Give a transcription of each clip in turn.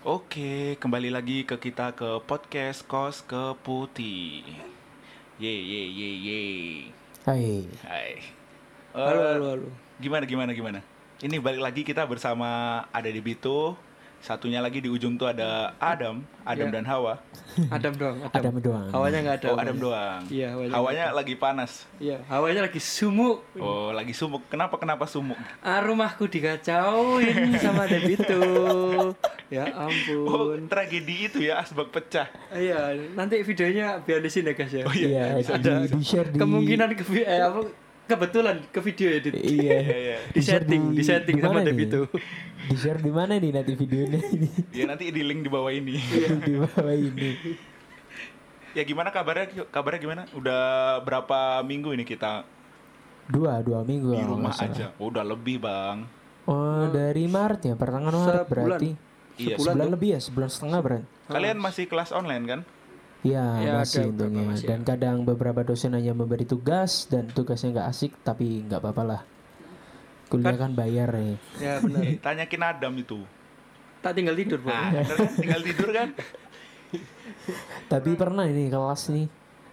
Oke, kembali lagi ke kita ke podcast Kos ke Putih. Ye ye ye ye. Hai. Hai. Eh, Halo, halo, halo. Gimana gimana gimana? Ini balik lagi kita bersama ada di Bito. Satunya lagi di ujung tuh ada Adam, Adam Ya. dan Hawa. Adam doang. Adam doang. Hawanya nggak ada. oh, Adam doang. Iya, hawanya. Hawanya lagi panas. Iya, hawanya lagi sumuk. Oh, lagi sumuk. Kenapa kenapa sumuk? Ah, rumahku dikacauin sama Adam itu. Ya Oh, ampun. tragedi itu ya asbak pecah. Iya, nanti videonya biar di sini ya, guys ya. Oh, Iya, bisa, di, di share di Kemungkinan ke vi- eh, apa, kebetulan ke video ya Dit. Iya. Iya, iya. Di setting, di setting di sama mana Adam nih? itu. Di share di mana nih nanti videonya ini? Ya nanti di link di bawah ini. Iya. di bawah ini. Ya gimana kabarnya? Kabarnya gimana? Udah berapa minggu ini kita Dua, dua minggu di kalau rumah nggak salah. aja? Oh, udah lebih, Bang. Oh, dari Maret ya, pertengahan Maret Sebulan. berarti. Iya. Sebulan. Sebulan tuh. lebih ya, sebulan setengah berarti. Kalian masih kelas online kan? Ya, Ya, ada masih beberapa untungnya. masih Dan kadang beberapa dosen hanya memberi tugas dan tugasnya nggak asik, tapi nggak apa-apa lah. Kuliah kan bayar ya. Ya benar. Eh, tanyakin Adam itu. Tak tinggal tidur, Bu. Nah, bener kan? tinggal tidur kan? Tapi pernah ini kelas nih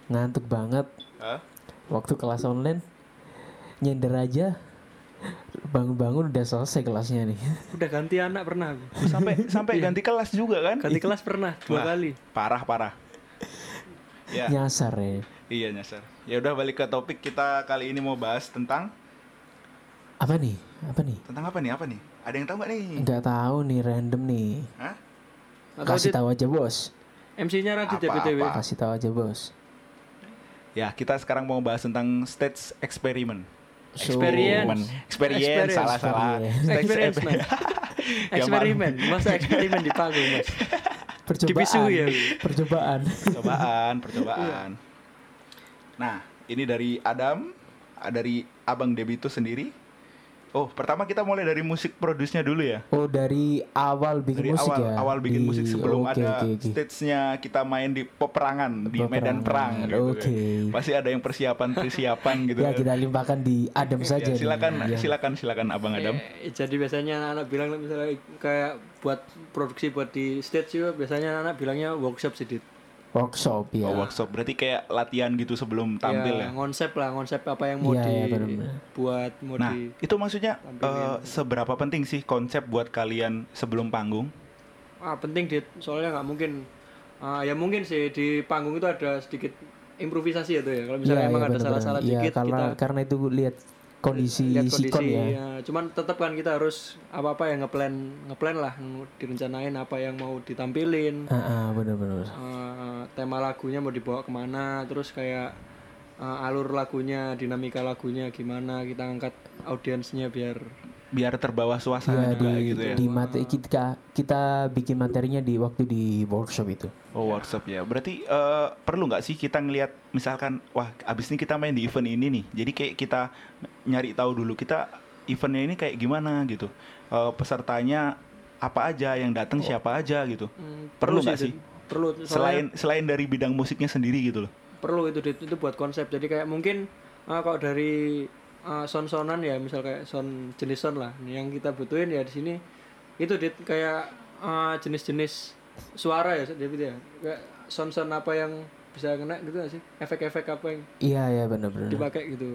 ngantuk banget. Hah? waktu kelas online nyender aja bangun-bangun udah selesai kelasnya nih Udah ganti anak pernah aku. Sampai sampai ganti kelas juga kan? Ganti kelas pernah dua Wah, kali. Parah, parah. Ya, nyasar ya iya nyasar. Ya udah balik ke topik kita kali ini mau bahas tentang apa nih apa nih tentang apa nih? Apa nih? Ada yang tahu nggak nih? nggak tahu nih random nih Hah? Atau kasih Dit, tahu aja bos MC-nya Radit ya Apa, BTW. apa? kasih tahu aja bos Ya, kita sekarang mau bahas tentang stage experiment. So, Experience. Experience, Experience. salah-salah. Experience. Stage Experience, exper- Mas. Gampang. Eksperimen, masa eksperimen dipanggil, Mas? percobaan Dipisui ya. percobaan percobaan Iya. percobaan nah ini dari Adam ah, dari abang Debito sendiri oh pertama kita mulai dari musik produce-nya dulu ya oh dari awal bikin dari musik awal ya awal bikin Di- musik sebelum oke, ada oke, oke. stage-nya kita main di peperangan di medan perang Peperangan, gitu oke. kan. pasti ada yang persiapan persiapan gitu ya kan. kita limpahkan di Adam Ya, saja nih. silakan Ya. silakan silakan abang Adam Eh, jadi biasanya anak-anak bilang misalnya kayak buat produksi buat di stage juga biasanya anak bilangnya workshop sedikit. workshop ya Oh, workshop berarti kayak latihan gitu sebelum tampil ya Konsep lah, konsep apa yang mau Iya, iya, benar-benar. dibuat, mau Nah, di itu maksudnya eh, seberapa penting sih konsep buat kalian sebelum panggung? ah penting dit soalnya nggak mungkin ah, ya mungkin sih di panggung itu ada sedikit improvisasi ya tuh ya kalau misalnya Iya, emang iya, ada benar-benar. salah-salah Iya, dikit karena kita karena itu lihat kondisi, lihat sikon ya ya. cuman tetap kan kita harus apa-apa ya ngeplan ngeplan lah direncanain apa yang mau ditampilin Ah, ah, benar-benar eh, tema lagunya mau dibawa kemana terus kayak eh, alur lagunya dinamika lagunya gimana kita angkat audiensnya biar biar terbawa Ya, suasana juga di, gitu ya. di materi kita kita bikin materinya di waktu di workshop itu. Oh workshop ya. Berarti eh, perlu nggak sih kita ngelihat misalkan wah abis ini kita main di event ini nih. Jadi kayak kita nyari tahu dulu kita eventnya ini kayak gimana gitu. Eh, pesertanya apa aja yang datang siapa aja gitu. Hmm, Perlu nggak Dit. sih? perlu soalnya Selain selain dari bidang musiknya sendiri gitu loh. perlu itu Dit. itu buat konsep jadi kayak mungkin eh, kalau dari eh, sound-soundan ya misal kayak sound jenis sound lah yang kita butuhin ya di sini itu Dit, kayak eh, jenis-jenis suara ya David ya kayak sound-sound apa yang bisa kena gitu nggak sih efek-efek apa yang Iya ya Hmm. benar-benar. dipakai gitu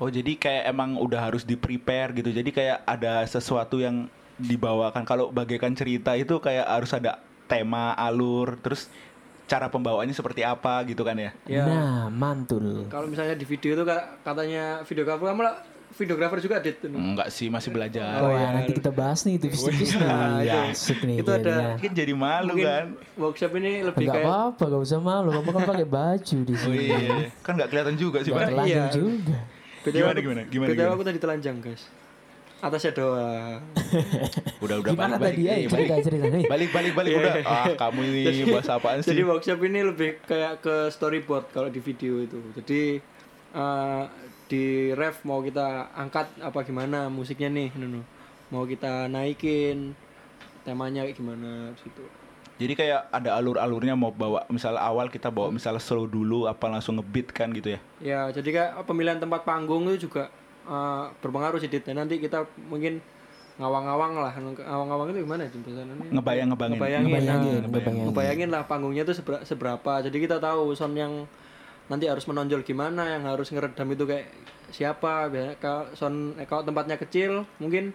Oh jadi kayak emang udah harus di prepare gitu. Jadi kayak ada sesuatu yang dibawakan. Kalau bagaikan cerita itu kayak harus ada tema, alur, terus cara pembawaannya seperti apa gitu kan ya. ya Nah mantul. kalau misalnya di video itu ka- katanya videografer kamu lah videografer juga dit Hmm. Enggak sih masih belajar. Wah nanti kita bahas nih tips-tips iya. nih. Ya, asik nih. Nah, itu ada- kayaknya. Mungkin jadi malu mungkin kan. workshop ini ya? lebih Enggak kayak apa-apa, gak usah malu. Kamu kan pakai baju di Oh sini. iya, kan nggak kelihatan juga sih, Gak Pak. telanjang Iya. juga. BTW Gimana, aku- gimana, gimana, BTW gimana? aku tadi telanjang guys atasnya doang Udah udah Gimana balik balik. tadi ya? Eh, Cerita Iya. balik. cerita nih. Balik balik balik udah. Ah, kamu ini bahas apaan Jadi sih? workshop ini lebih kayak ke storyboard kalau di video itu. Jadi eh, di ref mau kita angkat apa gimana musiknya nih, Nunu. Mau kita naikin temanya kayak gimana gitu. Jadi kayak ada alur-alurnya mau bawa misalnya awal kita bawa misalnya slow dulu apa langsung ngebeat kan gitu ya. Ya, jadi kayak pemilihan tempat eh, panggung itu juga eh, berpengaruh sih Dit. Dan nanti kita mungkin ngawang-ngawang lah. Ngawang-ngawang itu gimana Dit bahasanya? Ngebayang ngebangin. Ngebayangin, Ngebayangin, nah, ngebayangin. ngebayangin lah panggungnya tuh sebera- seberapa. Jadi kita tahu sound yang nanti harus menonjol gimana, yang harus ngeredam itu kayak siapa. Biasanya Kalau sound eh, kalau tempatnya kecil, mungkin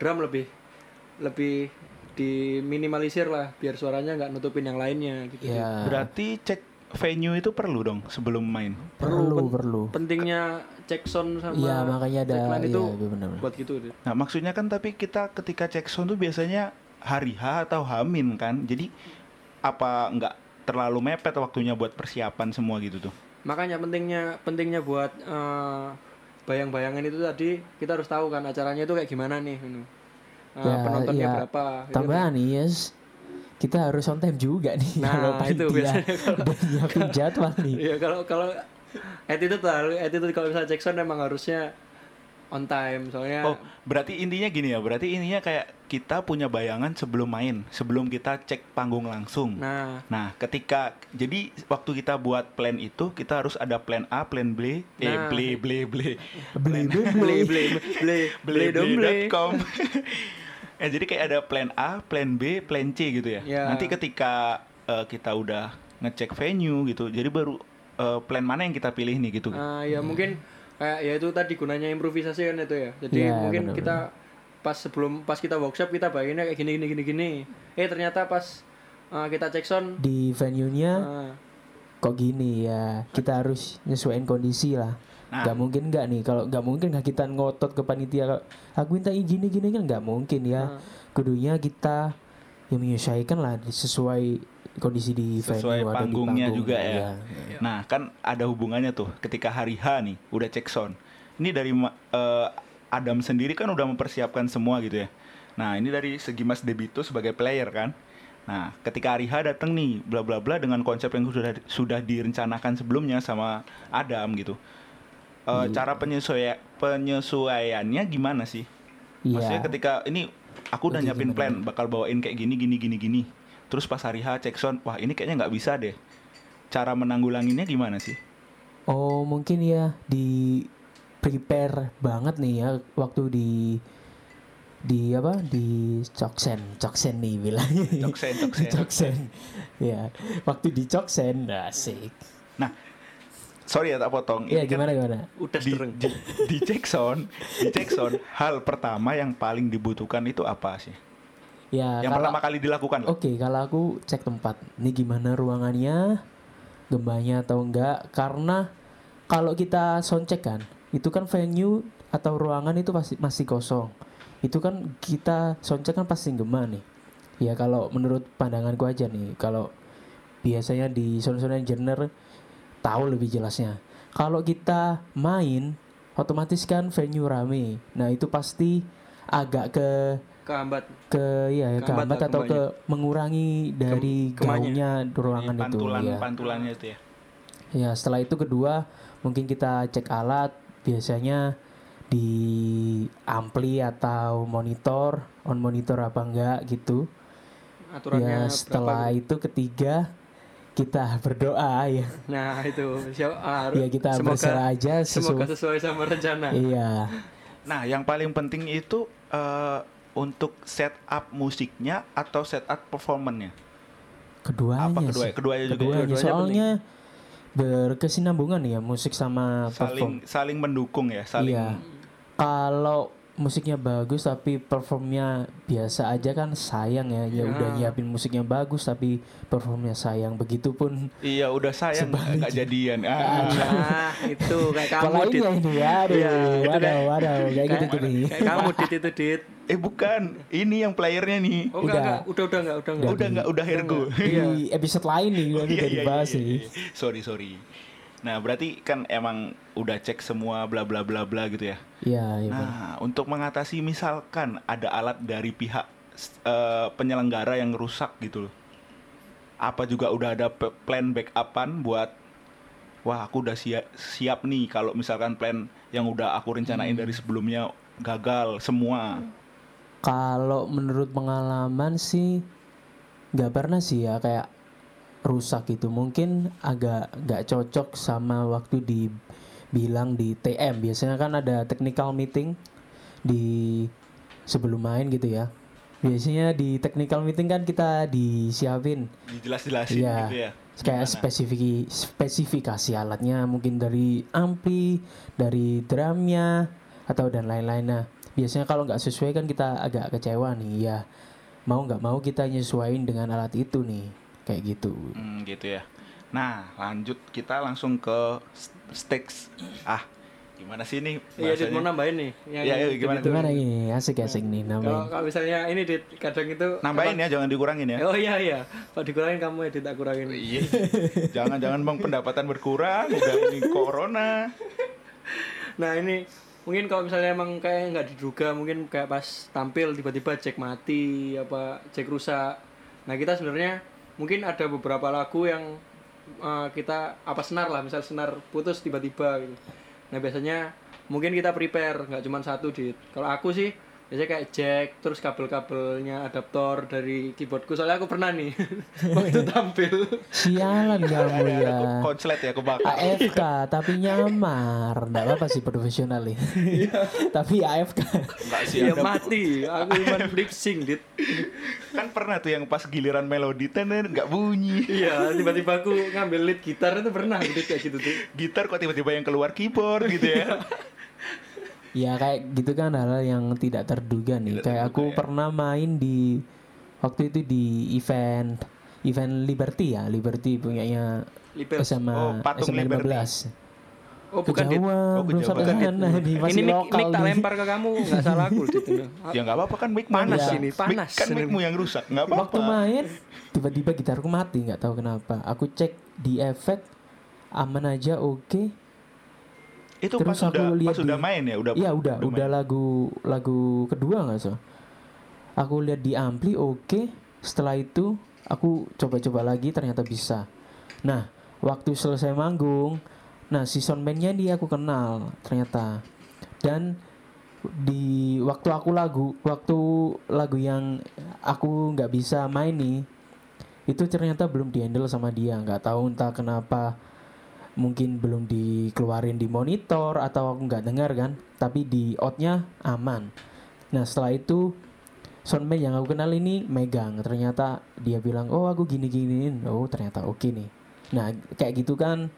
drum lebih lebih diminimalisir lah biar suaranya nggak nutupin yang lainnya gitu. ya Berarti cek venue itu perlu dong sebelum main. perlu pen- perlu Pentingnya cek sound sama Iya, makanya ada- cek line iya, itu benar-benar. buat gitu Dit. Nah, maksudnya kan tapi kita ketika cek sound tuh biasanya hari H atau Hamin kan. Jadi apa nggak terlalu mepet waktunya buat persiapan semua gitu tuh. Makanya pentingnya pentingnya buat eh, bayang-bayangan itu tadi kita harus tahu kan acaranya itu kayak gimana nih. gitu. Eh, Ya, penontonnya iya. berapa. gitu. tambahan nih yes kita harus on time juga nih Nah, kalau itu panitia biasanya buat nyiapin jadwal nih Iya kalau kalau attitude lah, attitude kalau misalnya Jackson emang harusnya on time soalnya Oh, berarti intinya gini ya. Berarti intinya kayak kita punya bayangan sebelum main, sebelum kita cek panggung langsung. nah Nah, ketika jadi waktu kita buat plan itu, kita harus ada plan A, plan B, eh Nah. ble ble ble beli beli beli beli beli dong beli ble.com. ya, jadi kayak ada plan A, plan B, plan C gitu ya. Ya. Nanti ketika eh, kita udah ngecek venue gitu, jadi baru eh, plan mana yang kita pilih nih gitu. Ah, ya mungkin kayak ya itu tadi gunanya improvisasi kan itu ya. Jadi Iya, mungkin benar-benar. kita pas sebelum pas kita workshop kita bayanginnya kayak gini gini gini gini. Eh ternyata pas ah, kita cek sound di venue nya ah, kok gini ya kita harus nyesuaiin kondisi lah Nah. nggak mungkin nggak nih kalau nggak mungkin nggak kita ngotot ke panitia kalau aku minta ini, gini gini kan nggak mungkin ya kudunya kita ya menyesuaikan lah sesuai kondisi di venue ada Sesuai di panggungnya panggung. juga ya. Iya. Nah, kan ada hubungannya tuh ketika hari H nih udah cek sound. Ini dari ma- eh, Adam sendiri kan udah mempersiapkan semua gitu ya. Nah, ini dari segi Mas Debito sebagai player kan. Nah, ketika hari H datang nih bla bla bla dengan konsep yang sudah sudah direncanakan sebelumnya sama Adam gitu. Iya. Eh, cara penyesuaian penyesuaiannya gimana sih? Iya. Maksudnya ketika ini aku udah nyiapin plan bakal bawain kayak gini gini gini gini. Terus pas hari H cek sound, wah ini kayaknya nggak bisa deh. Cara menanggulanginnya gimana sih? Oh mungkin ya di prepare banget nih ya waktu di di apa di coksen coksen nih bilangnya Coksen, coksen. coksen ya waktu di coksen asik Nah, sorry ya tak potong. ya Ini kan gimana gimana udah Di, sereng. di, di cek sound, di cek sound, hal pertama yang paling dibutuhkan itu apa sih? ya kalau Yang Oh, pertama kali dilakukan lah. Oke, kalau aku cek tempat. Ini gimana ruangannya? Gembanya atau enggak? Karena kalau kita sound check kan, itu kan venue atau ruangan itu pasti masih kosong. Itu kan kita sound check kan pasti gema nih. Ya kalau menurut pandanganku aja nih, kalau biasanya di sound-sound engineer tahu lebih jelasnya. Kalau kita main, otomatis kan venue rame. Nah, itu pasti agak ke kehambat. ke ya Kehambat kehambat lah atau ke mengurangi dari Kem- kemanya. gaungnya ruangan itu Iya, pantulan ya. pantulannya itu ya. ya setelah itu kedua mungkin kita cek alat biasanya di ampli atau monitor on monitor apa enggak gitu Aturannya ya setelah berapa? itu ketiga kita berdoa ya Nah, itu siapa ah, ya kita berserah aja semoga sesuai sesuai sama rencana. iya Nah, yang paling penting itu eh, untuk setup musiknya atau setup performance-nya. keduanya Apa sih. kedua keduanya juga ya? keduanya, Keduanya soalnya berkesinambungan ya musik sama perform saling saling mendukung ya, saling Iya. Kalau musiknya bagus tapi performnya biasa aja kan sayang ya. Ya Iya. Ya. udah nyiapin musiknya bagus tapi performnya sayang. Begitun Iya udah sayang nggak nggak jadian. Ah. Nah, itu kayak kamu kalau Dit. ini ini ya, aduh, Iya, itu waduh, kayak- waduh, kayak gitu gitu nih. Kayak kamu Dit itu Dit. Eh bukan, ini yang playernya nih. Oh enggak, Udah. enggak, udah udah enggak, udah Oh, enggak. udah nggak udah hergo. Di episode lain nih udah Iya, udah iya, dibahas iya, nih. iya, iya. Sorry sorry. Nah berarti kan emang udah cek semua bla bla bla bla gitu ya. Iya, iya. Bang. Nah untuk mengatasi misalkan ada alat dari pihak s- eh, penyelenggara yang rusak gitu loh. Apa juga udah ada pe- plan backupan buat Wah aku udah siap, siap nih kalau misalkan plan yang udah aku rencanain Hmm. dari sebelumnya gagal semua. Kalau menurut pengalaman sih nggak pernah sih ya kayak rusak gitu. Mungkin agak nggak cocok sama waktu di bilang di TM biasanya kan ada technical meeting di sebelum main gitu ya biasanya di technical meeting kan kita disiapin dijelas-jelasin Iya. gitu ya. kayak Gimana? spesifikasi spesifikasi alatnya mungkin dari ampli, dari drumnya atau dan lain-lainnya. Biasanya kalau nggak sesuai kan kita agak kecewa nih ya. Mau nggak mau kita nyesuaiin dengan alat itu nih. Kayak gitu. Hmm, gitu ya. Nah, lanjut kita langsung ke s- stakes. Ah, gimana sih ini Iya, Dit, mau bahasanya? nambahin nih. yang Iya, iya, gitu- gimana, gitu. Gimana ini? Asik-asik nih Kalau namanya. kalau misalnya ini Dit, kadang itu Nambahin ya, jangan dikurangin ya. Oh iya iya, kalau dikurangin kamu ya Dit, tak kurangin. Iya. Jangan-jangan bang pendapatan berkurang, udah ini corona. Nah ini mungkin kalau misalnya emang kayak nggak diduga mungkin kayak pas tampil tiba-tiba cek mati apa cek rusak. Nah kita sebenarnya mungkin ada beberapa lagu yang eh, kita apa senar lah misal senar putus tiba-tiba gitu. Nah biasanya mungkin kita prepare nggak cuma satu dit. Kalau aku sih biasanya kayak jack terus kabel-kabelnya adaptor dari keyboardku soalnya aku pernah nih waktu tampil Sialan kamu Ada ya. aku konslet ya kebakar. AFK tapi nyamar. Enggak apa-apa sih profesional nih. Iya. tapi AFK. Enggak sih ya ada. mati aku cuma lip sync dit Kan pernah tuh yang pas giliran melodi tenen nggak bunyi. Iya, tiba-tiba aku ngambil lead gitar itu pernah gitu kayak gitu tuh. Gitar kok tiba-tiba yang keluar keyboard gitu ya. Ya kayak gitu kan hal-hal yang tidak terduga nih. Tidak kayak terduga, aku ya. pernah main di waktu itu di event event Liberty ya, Liberty punyanya Liber. SMA Oh, patung SMA Liberty. 15. Oh, bukan dit. Kejauhan, Oh, belum kejauhan. sampai Bukan, Dit. sana ini ini masih mic, lokal. mic tak nih. lempar ke kamu, nggak salah aku dit. ya nggak apa-apa kan mic Panas panas ini, Mic- panas. Kan micmu yang rusak, nggak Waktu apa-apa. main tiba-tiba gitarku mati nggak tahu kenapa. Aku cek di efek aman aja oke. Itu Terus pas aku udah lihat pas di- udah main ya, udah. Iya udah main. udah lagu lagu kedua nggak so. Aku lihat di ampli oke. Setelah itu aku coba-coba lagi ternyata bisa. Nah waktu selesai manggung, nah si soundman-nya dia aku kenal ternyata. Dan di waktu aku lagu waktu lagu yang aku nggak bisa main nih itu ternyata belum dihandle sama dia nggak tahu entah kenapa mungkin belum dikeluarin di monitor atau aku nggak dengar kan tapi di outnya aman nah setelah itu soundman yang aku kenal ini megang ternyata dia bilang oh aku gini giniin oh ternyata oke nih nah kayak gitu kan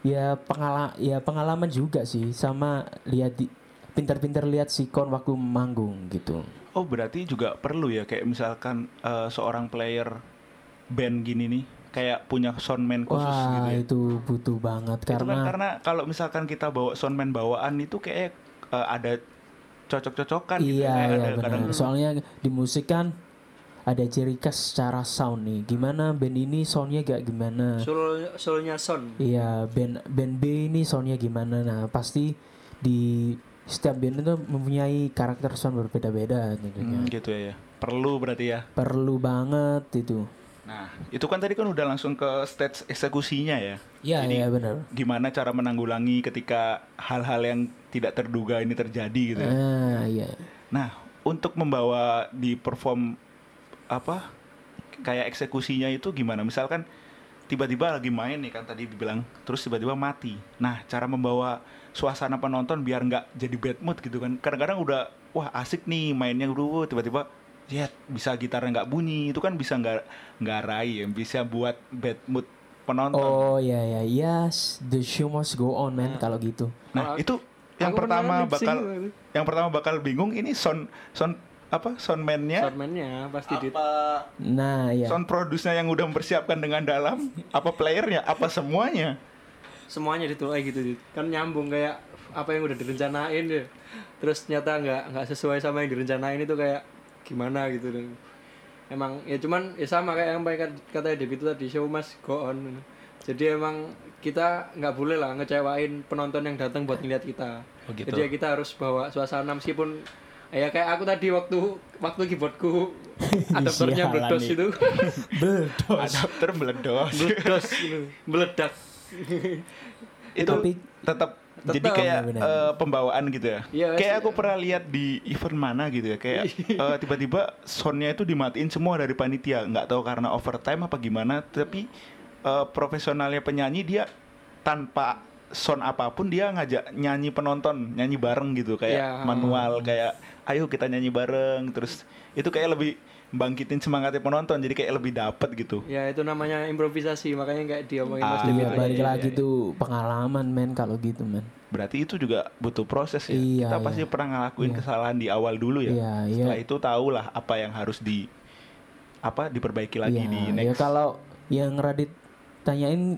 ya pengala ya pengalaman juga sih sama lihat di pintar-pintar lihat sikon waktu manggung gitu Oh berarti juga perlu ya kayak misalkan eh, seorang player band gini nih kayak punya soundman khusus gitu wah ya. itu butuh banget Itu kan karena karena kalau misalkan kita bawa soundman bawaan itu kayak eh, ada cocok-cocokan gitu Iya, kayak iya ada kadang benar. Soalnya di musik kan ada ciri khas secara sound nih. Gimana band ini soundnya gak gimana? Soul soulnya son. Iya, band band B ini soundnya gimana? Nah, pasti di setiap band itu mempunyai karakter sound berbeda-beda tentunya. Hmm, gitu ya, ya. Perlu berarti ya. Perlu banget itu. Nah, itu kan tadi kan udah langsung ke stage eksekusinya ya. Iya, Jadi, iya benar. Gimana cara menanggulangi ketika hal-hal yang tidak terduga ini terjadi gitu ya. Ah, iya. Nah, untuk membawa di perform apa kayak eksekusinya itu gimana? Misalkan tiba-tiba lagi main nih kan tadi dibilang terus tiba-tiba mati. Nah, cara membawa suasana penonton biar nggak jadi bad mood gitu kan. Kadang-kadang udah wah asik nih mainnya dulu tiba-tiba ya bisa gitarnya nggak bunyi itu kan bisa nggak nggak raih ya. bisa buat bad mood penonton. Oh, iya iya. Yes, the show must go on, man, kalau gitu. Nah, Kalau aku- itu yang Aku pernah pertama lip sync bakal waktu itu. yang pertama bakal bingung ini sound sound apa Iya. soundman-nya Soundman-nya pasti dit. Nah, iya. sound produce-nya yang udah mempersiapkan dengan dalam apa playernya apa semuanya Semuanya ditulai gitu dit. Kan nyambung kayak apa yang udah direncanain ya. Terus ternyata nggak nggak sesuai sama yang direncanain itu kayak gimana gitu dan emang ya cuman ya sama kayak yang kata katanya Debbie itu tadi show must go on gitu. jadi emang kita nggak boleh lah ngecewain penonton yang datang buat ngeliat kita Oh, gitu. jadi ya kita harus bawa suasana meskipun ya kayak aku tadi waktu waktu keyboardku Iya, adaptornya Sialan meledos nih. itu Iya, Bedos. adapter meledos meledos gitu, meledak itu Tapi- tetap Tetap, jadi kayak benar. eh, pembawaan gitu ya Iya, kayak sih. Iya. aku pernah lihat di event mana gitu ya kayak eh, tiba-tiba soundnya itu dimatiin semua dari panitia nggak tahu karena overtime apa gimana tapi eh, profesionalnya penyanyi dia tanpa sound apapun dia ngajak nyanyi penonton nyanyi bareng gitu kayak Ya. manual kayak ayo kita nyanyi bareng terus itu kayak lebih bangkitin semangatnya penonton jadi kayak lebih dapet gitu ya itu namanya improvisasi makanya kayak diomongin Ah, Mas Dim Iya, itu. balik lagi tuh pengalaman men kalau gitu men. berarti itu juga butuh proses ya Iya, kita iya. pasti pernah ngelakuin kesalahan di awal dulu ya Iya, iya. setelah itu tahulah apa yang harus di apa diperbaiki lagi Iya, di ya next kalau yang Radit tanyain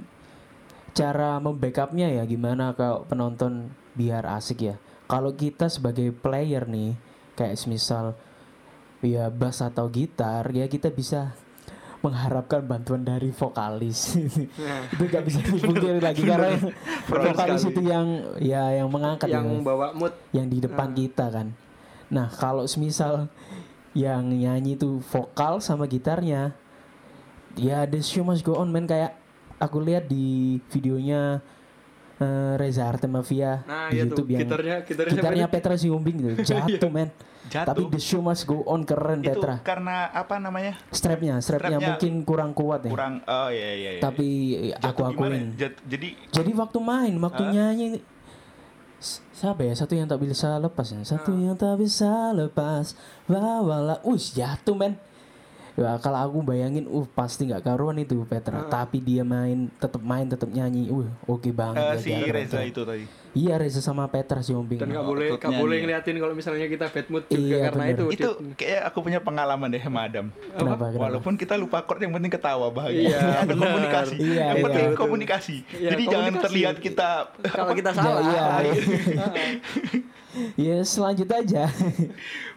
cara membackupnya ya gimana kalau penonton biar asik ya. Kalau kita sebagai player nih kayak semisal ya bass atau gitar ya kita bisa mengharapkan bantuan dari vokalis Nah, itu nggak bisa dipungkiri lagi karena vokalis itu yang ya yang mengangkat ya, yang Mas bawa mood yang di depan kita kan. Nah kalau semisal yang nyanyi itu vokal sama gitarnya, ya the show must go on man kayak aku lihat di videonya eh, Reza Arte Mafia nah di ya YouTube tuh Gitu, yang gitarnya gitarnya gitarnya Petra Sihombing gitu jatuh men. Jatuh. Tapi the show must go on keren itu Petra. karena apa namanya Strapnya, strapnya Strapnya mungkin kurang kuat ya. kurang oh iya iya, iya. Tapi Jatuh aku gimana akuin. ya? Jat- jadi Jadi waktu main, waktu nyanyi S- siapa ya satu yang tak bisa lepas ya satu yang tak bisa lepas bawalah us jatuh men ya kalau aku bayangin uh pasti nggak karuan itu Petra tapi dia main tetap main tetap nyanyi uh oke banget eh, ya, si jalan, Reza Petra. itu tadi iya Reza sama Petra si Ombing dan nggak boleh nggak Outputnya boleh nih. ngeliatin kalau misalnya kita bad mood juga Iya, karena bener. itu itu kayak aku punya pengalaman deh sama Adam kenapa kenapa walaupun kita lupa chord yang penting ketawa bahagia Iya, ada benar. komunikasi Iya, yang iya. penting Betul. komunikasi Iya, jadi jangan komunikasi. terlihat kita kalau kita Ya, salah iya. ya selanjut aja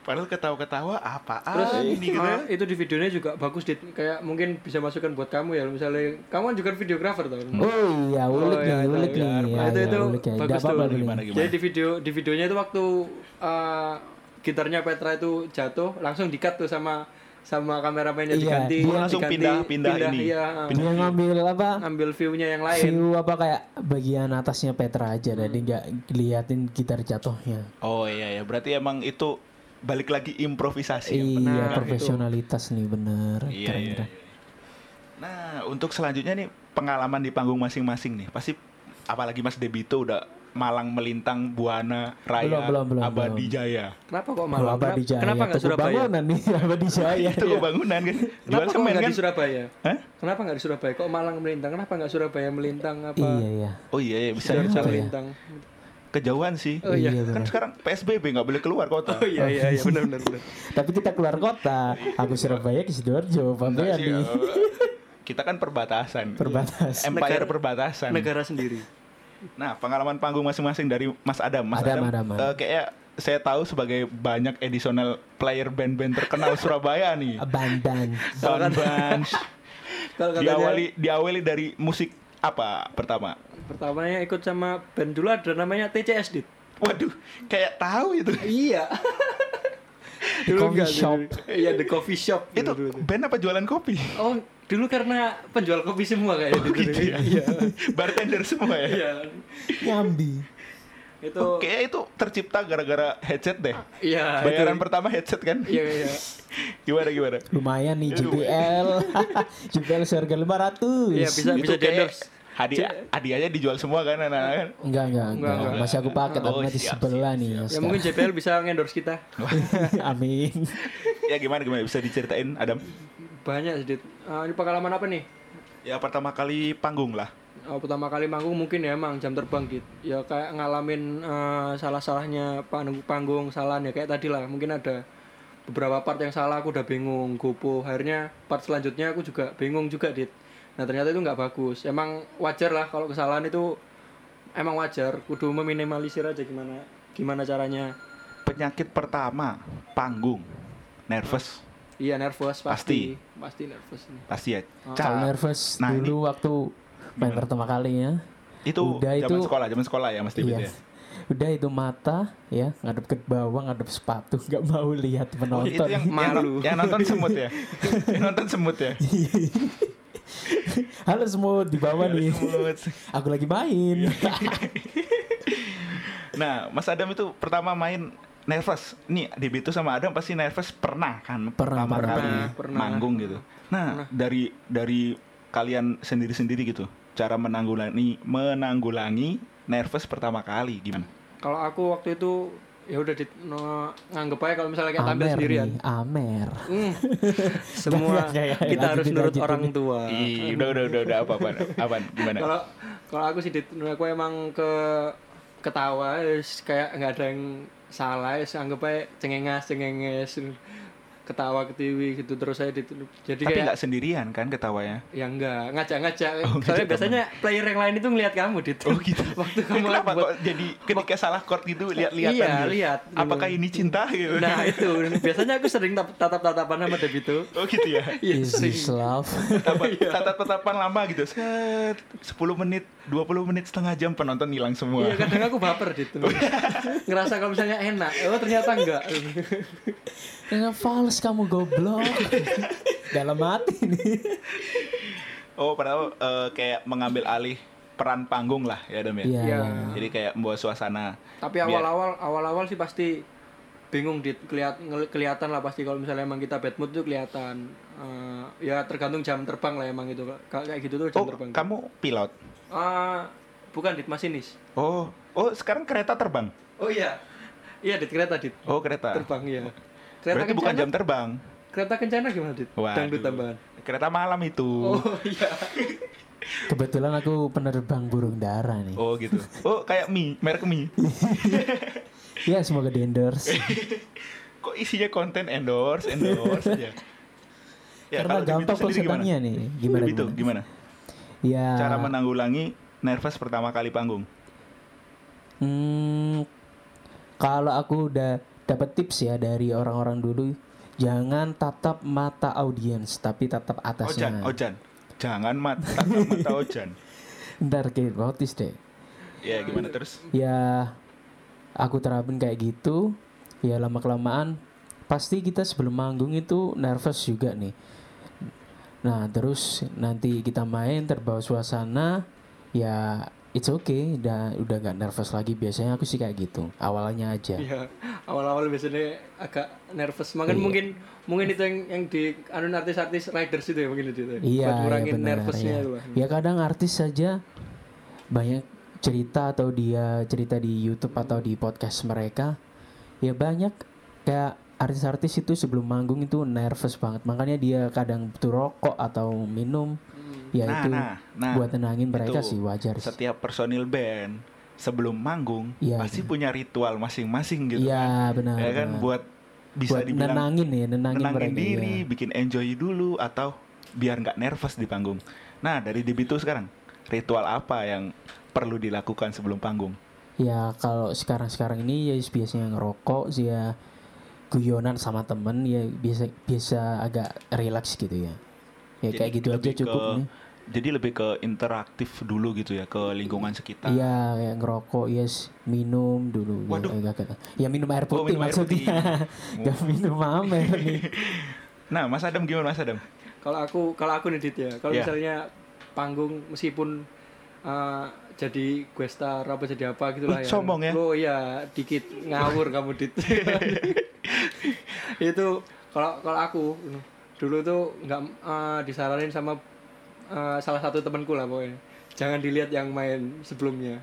padahal ketawa-ketawa apaan terus ini gitu ah, ya. itu di videonya juga bagus Dit. kayak mungkin bisa masukkan buat kamu ya misalnya kamu kan juga videografer tau kan? oh iya ulik Oh, nih iya, itu ulik nih biar- ya, itu- ya, itu ulik ya. bagus Nggak tuh, apa-apa gimana, ulik. gimana gimana Jadi di video di videonya itu waktu eh, gitarnya Petra itu jatuh langsung dikat tuh sama sama kameramennya Iya, diganti dia langsung pindah- diganti- pindah ini. iya, Pindah. dia ngambil apa ngambil view-nya yang lain Hmm. view apa kayak bagian atasnya Petra aja jadi nggak liatin gitar jatuhnya oh iya ya berarti emang itu balik lagi improvisasi yang iya penting. benar gitu. profesionalitas nih bener Iya, keren iya, keren iya. Nah, untuk selanjutnya nih pengalaman di panggung masing-masing nih. Pasti apalagi Mas Debito udah Malang Melintang Buana Raya Belum, belum, belum, Abadi belum. Jaya. kenapa kok Malah malah Abadi Jaya kenapa nggak Toko Surabaya bangunan nih Abadi Jaya Itu bangunan kan. Jual Oh, iya, kenapa kok semen nggak kan. di Surabaya Hah? kenapa nggak di Surabaya kok Malang melintang kenapa nggak Surabaya melintang apa iya iya Oh iya, iya bisa Sidoarjo bisa. Surabaya. melintang Kejauhan sih. Oh, iya. Kan bener. sekarang PSBB nggak boleh keluar kota. oh iya iya iya benar benar benar tapi kita keluar kota aku Surabaya ke Sidoarjo Pak Nggak Iya, sih, Briani eh, Kita kan perbatasan. Perbatas. Empire Negara- perbatasan. negara sendiri Nah, pengalaman panggung masing-masing dari Mas Adam. Mas Adam, Adam, Adam, Adam. eh, kayaknya saya tahu sebagai banyak additional player band-band terkenal Surabaya nih. Bandan Ban Bans. kalau katanya diawali diawali dari musik apa pertama? pertamanya ikut sama band dulu ada namanya TCS Dit Waduh, kayak tahu itu. Iya. Di coffee enggak, shop. dulu. Iya, the coffee shop. itu dulu tuh. band apa jualan kopi? Oh, dulu karena penjual kopi semua kayaknya dulu. gitu ya. Iya. Bartender semua ya. Iya. Nyambi Itu Oke, itu tercipta gara-gara headset deh. iya. Bayaran itu- pertama headset kan? Iya, iya. Gimana gimana? lumayan nih Aduh. JBL JBL seharga 500 Iya, bisa Itu bisa di kayak endorse. hadiah hadiahnya dijual semua kan anak-anak kan? Enggak, enggak, enggak, enggak. Masih aku pakai, tapi Oh, nanti siap, sebelah nih. Ya mungkin JPL bisa ngendorse kita. sekarang. Amin. Ya gimana gimana bisa diceritain Adam? Banyak sedikit. ini pengalaman apa nih? Ya pertama kali panggung lah. Oh, pertama kali manggung mungkin ya emang jam terbang dit ya kayak ngalamin eh, salah-salahnya panggung, panggung salah ya kayak tadi lah mungkin ada beberapa part yang salah aku udah bingung gopo akhirnya part selanjutnya aku juga bingung juga dit nah ternyata itu nggak bagus emang wajar lah kalau kesalahan itu emang wajar kudu meminimalisir aja gimana gimana caranya Penyakit pertama panggung nervous iya nervous Pasti. pasti pasti, nervous pasti ya. Oh. Kalau Ca- nervous Nah, dulu waktu main pertama kali ya. itu Udah zaman itu- sekolah zaman sekolah ya Mas David Iya. ya. Udah itu mata ya ngadep ke bawah, ngadep sepatu, nggak mau lihat Oh, itu yang penonton. Malu. Yang, yang nonton semut ya. yang nonton semut ya. Halo semua di bawah Iya, nih. Semut. Aku lagi Iya, main. Nah, Mas Adam itu pertama main nervous. Nih, Debbie itu sama Adam pasti nervous pernah kan? Pernah, pertama pernah. kali Pernah. manggung gitu. Nah, dari dari kalian sendiri-sendiri gitu, cara menanggulangi menanggulangi nervous pertama kali gimana? Kalau aku waktu itu ya udah di, no, nganggep aja kalau misalnya kayak tampil Amer sendirian. nih, Amer. Hmm. Semua Gak, gak, gak, Iya, kita lanjutin, harus nurut lanjutin. orang tua. Ih, udah udah udah udah apa apa apa gimana? Iya, Kalau kalau aku sih Dit, menurut aku emang ke ketawa terus kayak nggak ada yang salah, terus anggap aja cengengas cengenges ketawa ketiwi gitu terus saya Dit. jadi Tapi kayak nggak sendirian kan ketawanya? ya enggak ngajak-ngajak Oh, soalnya ngajak biasanya player yang lain itu ngelihat kamu dit Oh gitu. waktu Ini kamu Kenapa buat kok jadi ketika salah chord gitu lihat-lihatan? Iya, gitu? lihat. Apakah ini cinta gitu? nah itu biasanya aku sering tap- tatap-tatapan sama Debito Oh gitu ya. iya Is sering this love? Iya. Tatap-tatapan lama gitu. Set 10 menit, 20 menit, setengah jam penonton hilang semua. Iya kadang aku baper gitu Ngerasa kalau misalnya enak Oh ternyata enggak Dengan fals kamu goblok. Dalam hati nih. Oh, padahal eh, kayak mengambil alih peran panggung lah ya, Dam ya. Iya. Iya. Jadi kayak membawa suasana. Tapi Biar- awal-awal Awal-awal sih pasti Bingung dit Keliat, ngel- Kelihatan lah pasti Kalau misalnya emang kita bad mood tuh kelihatan Eh, Ya tergantung jam terbang lah emang gitu Ka- Kayak gitu tuh jam Oh, terbang kamu pilot. Ah, Bukan dit masinis Oh, oh sekarang kereta terbang. Oh iya Iya dit kereta dit Oh, kereta. Terbang ya Kereta Berarti bukan kencana jam terbang. Kereta kencana gimana dit? Waduh. Dangdut tambahan Kereta malam itu. Oh iya Kebetulan aku penerbang burung dara nih. Oh, gitu. Oh, kayak mie, merek mie. Ya semoga di endorse. Kok isinya konten endorse, endorse aja. Ya, Karena gampang prosesannya nih. Gimana Itu gimana? Gitu, gimana? Ya. Cara menanggulangi nervous pertama kali panggung. Hmm, kalau aku udah dapat tips ya dari orang-orang dulu, jangan tatap mata audiens, tapi tatap Ojan, atasnya. Ojan. Jangan mata tatap mata Ojan. Ntar kayak notice deh. Ya gimana terus? Ya, aku terapin kayak gitu. Ya lama kelamaan, pasti kita sebelum manggung itu nervous juga nih. Nah terus nanti kita main terbawa suasana, ya it's okay. Udah udah gak nervous lagi. Biasanya aku sih kayak gitu. Awalnya aja. Iya, awal-awal biasanya agak nervous. Iya. Mungkin mungkin mungkin itu yang yang di anun artis-artis riders itu ya mungkin itu. ya. Iya, Buat iya ngurangin benar, nervousnya iya. itu. Pak. Ya kadang artis saja banyak cerita atau dia cerita di YouTube atau di podcast mereka. Ya banyak kayak artis-artis itu sebelum manggung itu nervous banget. Makanya dia kadang butuh rokok atau minum. Hmm. Ya Nah, itu nah, nah. buat tenangin mereka Itu. sih wajar sih. Setiap personil band sebelum manggung Iya, pasti punya ritual masing-masing gitu. Iya benar. kan. Ya kan benar. buat bisa buat dibilang nenangin ya, nenangin, nenangin mereka, diri, iya. bikin enjoy dulu atau biar nggak nervous di panggung. Nah, dari Debito sekarang, ritual apa yang perlu dilakukan sebelum panggung? Ya kalau sekarang-sekarang ini ya biasanya ngerokok sih ya guyonan sama temen ya biasa biasa agak relax gitu ya. Ya Jadi kayak gitu aja lebih cukup ke- nih. Jadi lebih ke interaktif dulu gitu ya ke lingkungan sekitar. Iya kayak ngerokok yes minum dulu. Waduh. Ya, agak- agak- ya minum air Oh, putih minum air maksudnya. putih. Gak minum amer nih. Nah, Mas Adam gimana Mas Adam? Kalau aku kalau aku nih Dit ya. Kalau Iya. misalnya panggung meskipun eh, jadi gue star apa jadi apa gitu lah Wih, sombong ya. Oh iya, dikit ngawur kamu Dit. itu kalau kalau aku dulu tuh nggak eh, disaranin sama eh, salah satu temanku lah pokoknya. Jangan dilihat yang main sebelumnya.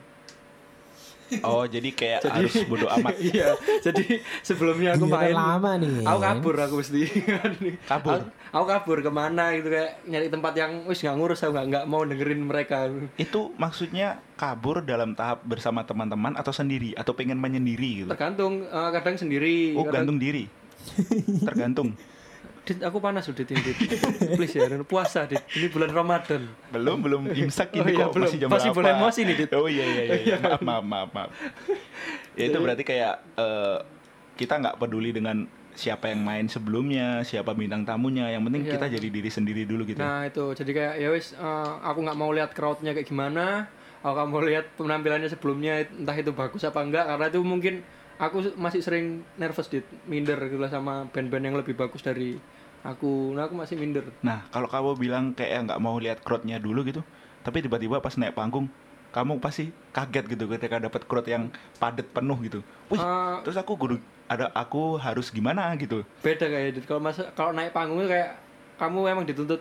Oh, jadi kayak harus bodo amat. iya jadi sebelumnya aku Dia main lama nih. aku kabur aku mesti Kabur? aku, aku kabur kemana gitu kayak nyari tempat yang wis nggak ngurus aku nggak nggak mau dengerin mereka Itu maksudnya kabur dalam tahap bersama teman-teman atau sendiri atau pengen menyendiri gitu. tergantung eh, kadang Iya, sendiri Oh, kadang- gantung diri. Tergantung. Dit, aku panas udah dit, Dit. please ya puasa dit ini bulan ramadan Belum, belum imsak Oh ini iya, kok belum. masih jam Masih berapa? boleh emosi nih, Dit. Oh iya iya iya. iya. Maaf, maaf, maaf, maaf. Ya itu berarti kayak eh, kita nggak peduli dengan siapa yang main sebelumnya, siapa bintang tamunya, yang penting Iya. kita jadi diri sendiri dulu gitu. Nah itu jadi kayak ya wis eh, aku nggak mau lihat crowdnya kayak gimana, aku nggak mau lihat penampilannya sebelumnya entah itu bagus apa enggak karena itu mungkin aku s- masih sering nervous di minder gitu lah sama band-band yang lebih bagus dari aku. Nah aku masih minder. Nah, kalau kamu bilang kayak nggak mau lihat crowdnya dulu gitu, tapi tiba-tiba pas naik panggung, kamu pasti kaget gitu ketika dapat crowd yang padat penuh gitu. Wih, Eh, terus aku kudu ada aku harus gimana gitu. beda kayak dit. kalau masa kalau naik panggung itu kayak kamu emang dituntut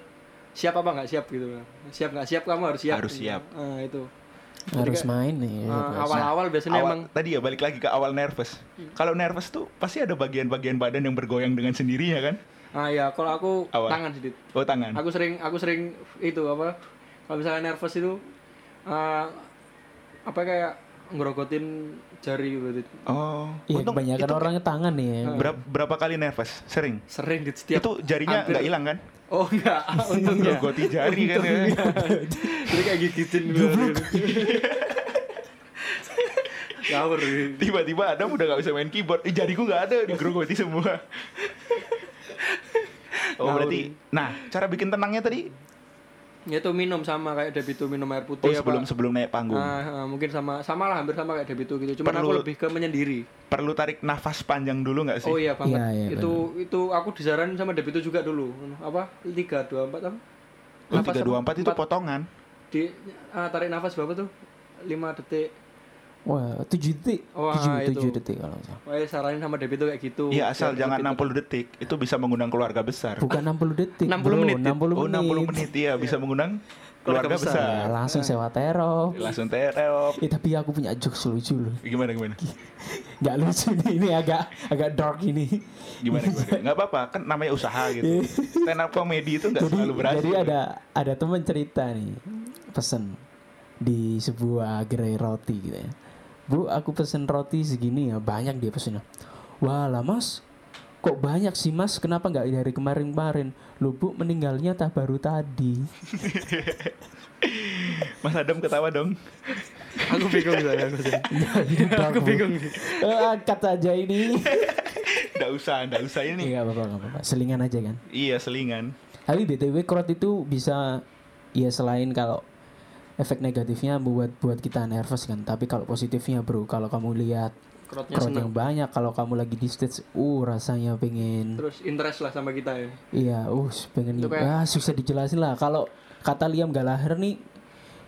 siap apa nggak siap gitu. Siap nggak siap kamu harus siap. Harus siap. Eh, itu. Iya, harus main nih. Eh, ah, awal-awal biasanya Awal- emang Hmm. tadi ya balik lagi ke awal nervous. Kalau nervous tuh pasti ada bagian-bagian badan yang bergoyang dengan sendirinya kan? ah ya kalau aku Awal. tangan sedikit Oh tangan. aku sering aku sering itu apa kalau misalnya nervous itu eh, apa kayak ngerogotin jari gitu Dit. Oh. Iya, untung kebanyakan itu Ah. orangnya tangan nih. Ya. berap- berapa kali nervous? Sering. sering di setiap itu jarinya hampir- nggak hilang kan? oh enggak untungnya Ngerogoti jari kan ya. jadi kayak gigitin gitu ngawur gitu. Tiba-tiba Adam udah nggak bisa main keyboard. Ih, jariku nggak ada, digerogoti semua. Oh Ngawur. berarti, nah cara bikin tenangnya tadi, ya itu minum sama kayak debito minum air putih oh apa- sebelum sebelum naik panggung, Iya, Ah, ah, mungkin sama sama lah hampir sama kayak debito gitu cuman aku Perlu- lebih ke menyendiri perlu tarik nafas panjang dulu nggak sih? oh iya banget Iya, iya, itu itu aku disaranin sama debito juga dulu apa tiga dua empat apa Oh, Nafas 324 itu empat- potongan. di ah, tarik nafas berapa tuh lima detik Wah, 7 detik. Wah, 7, itu. detik kalau nggak salah. Wah, saranin sama debito kayak gitu Iya asal Biar jangan 60 lebih- detik, itu bisa mengundang keluarga besar. Bukan 60 detik, 60 bro. menit, Dit. 60 Oh menit. 60 menit iya bisa mengundang Keluarga keluarga besar. Nah, besar. langsung sewa terop. Langsung terop. Eh, tapi aku punya jokes lucu loh. Gimana gimana? Gak lucu nih, ini agak agak dark ini. Gimana gimana? Nggak apa-apa kan namanya usaha gitu. Stand up comedy itu nggak ya. jadi, selalu berhasil. jadi ada ada teman cerita nih pesen di sebuah gerai roti gitu ya. Bu, aku pesen roti segini ya, banyak dia pesennya. Wah lah mas, kok banyak sih mas? Kenapa nggak dari kemarin-kemarin? Lu bu meninggalnya tak baru tadi. Mas Adam ketawa dong. aku bingung soalnya, aku soalnya. aku bingung Eh, Kata aja ini. Nggak usah, nggak usah ini. Iya apa-apa, nggak apa-apa. Selingan aja kan. Iya selingan. Tapi btw crowd itu bisa ya selain kalau efek negatifnya buat buat kita nervous kan. Tapi kalau positifnya bro, kalau kamu lihat Crowdnya crowd seneng yang banyak, kalau kamu lagi di stage, uh rasanya pengen, terus interest lah sama kita ya iya, uh pengen, Itu kayak- ah susah dijelasin lah. Kalau kata Liam Gallagher nih,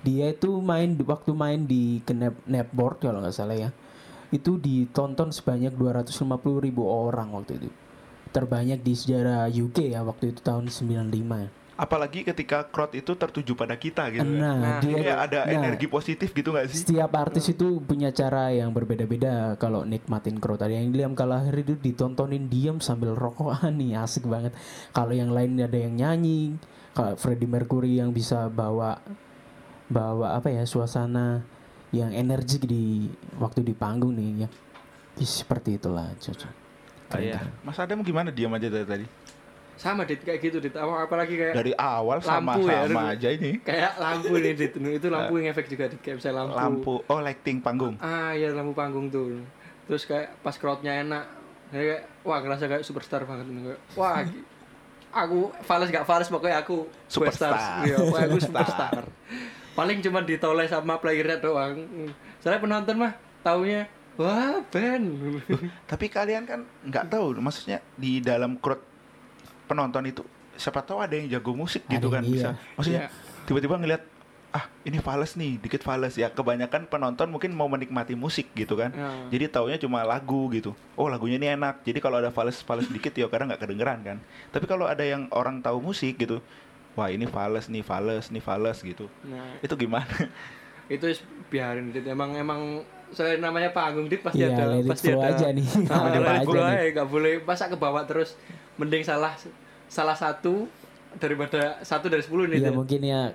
dia itu main waktu main di kenep netboard kalau nggak salah ya, itu ditonton sebanyak 250.000 ribu orang waktu itu, terbanyak di sejarah UK ya waktu itu tahun 95 ya. Apalagi ketika crowd itu tertuju pada kita gitu. kan. Nah, Nah, dia Kayak ada nah, energi positif gitu nggak sih? Setiap artis itu punya cara yang berbeda-beda kalau nikmatin crowd. Ada yang Liam Gallagher itu ditontonin diam sambil rokokan nih, asik banget. Kalau yang lain ada yang nyanyi, kalau Freddie Mercury yang bisa bawa bawa apa ya suasana yang energik di waktu di panggung nih ya. Ih, Seperti itulah, cocok. Ah, iya. Mas Adam gimana diam aja dari tadi? sama dit kayak gitu dit Apa- apalagi kayak Dari awal sama Lampu ya, sama aduh. aja ini. kayak lampu nih dit itu lampu yang efek juga dit kayak misalnya lampu, Nah. Lampu, oh lighting panggung. ah ya lampu panggung tuh terus kayak pas crowdnya enak jadi kayak wah ngerasa kayak superstar banget ini kayak wah gi- aku fals gak fals pokoknya aku Superstar. superstar. iya pokoknya aku superstar paling cuma ditoleh sama playernya doang soalnya penonton mah taunya wah band Tapi kalian kan nggak tahu, maksudnya di dalam crowd penonton itu siapa tahu ada yang jago musik gitu Ada kan yang bisa. iya. Maksudnya Iya. tiba-tiba ngelihat ah ini fales nih, dikit fales ya. Kebanyakan penonton mungkin mau menikmati musik gitu kan. Iya. Jadi taunya cuma lagu gitu. Oh lagunya ini enak. Jadi kalau ada fales-fales dikit ya karena nggak kedengeran kan. Tapi kalau ada yang orang tahu musik gitu, wah ini fales nih, fales nih, fales gitu. nah Itu gimana? itu is- biarin dit emang emang soalnya namanya panggung dit pasti Iya, ada let it pasti flow ada aja nih. Ah, Namanya let it apa flow aja nih. aja, nggak boleh masa ke bawah terus mending salah salah satu daripada satu dari sepuluh nih Iya Dit. mungkin ya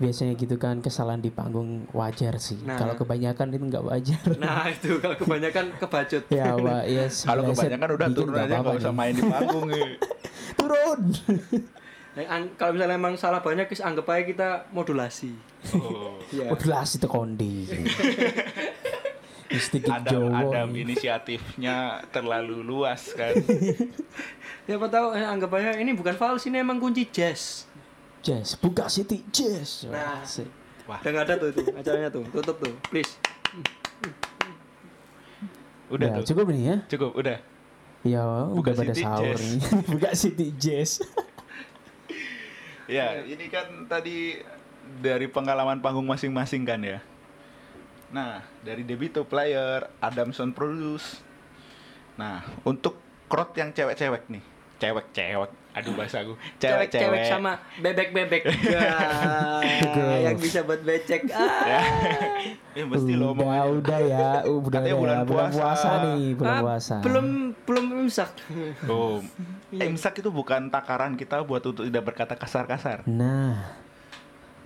biasanya gitu kan kesalahan di panggung wajar sih. Nah. Kalau kebanyakan itu nggak wajar. nah itu kalau kebanyakan kebacut ya wa, ya Kalau sebeleset kebanyakan udah dikit turun Gitu, nggak aja apa-apa nggak usah nih. main di panggung. ya. turun Nah, an- kalau misalnya emang salah banyak is anggap aja kita modulasi Oh. Iya. modulasi itu kondi sedikit Adam, Jawa Adam inisiatifnya terlalu luas kan. siapa tahu eh, anggap aja ini bukan fals ini emang kunci jazz jazz buka city jazz Wah, Nah. asik. Wah, udah nggak ada tuh itu acaranya tuh tutup tuh please udah Ya, tuh. Cukup. cukup nih ya udah. ya Buka udah pada city sahur jazz. nih buka city jazz Ya, ini kan tadi dari pengalaman panggung masing-masing kan ya. Nah, dari Debito Player, Adamson Produce. Nah, untuk crowd yang cewek-cewek nih. Cewek-cewek. Aduh bahasa aku. Cewek-cewek. Cewek-cewek sama bebek-bebek. Girls. Ya, yang bisa buat becek. Ah. Eh mesti udah, lo omongannya. udah ya, udah Katanya ya. bulan bulan puasa puasa. nih, bulan Ah, puasa. Belum belum imsak. Oh. Imsak itu bukan takaran kita buat untuk tidak berkata kasar-kasar. Nah,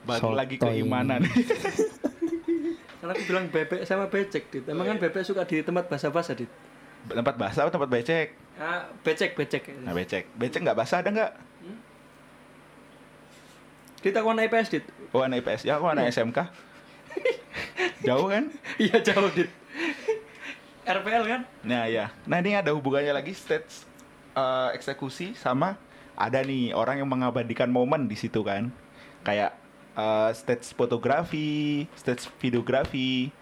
Balik Sotoy. lagi keimanan. Karena aku bilang bebek sama becek, Dit. Emang kan bebek suka di tempat basah-basah, Dit. tempat basah atau tempat becek? Ah, becek, becek. Nah, becek. Becek nggak basah ada nggak? Dit aku anak IPS, Dit. Oh, anak IPS. Ya, aku anak SMK. Jauh kan? Iya, jauh, Dit. RPL kan? Nah, ya. Nah, ini ada hubungannya lagi stage eh, eksekusi sama ada nih orang yang mengabadikan momen di situ kan. Kayak eh, stage fotografi, stage videografi.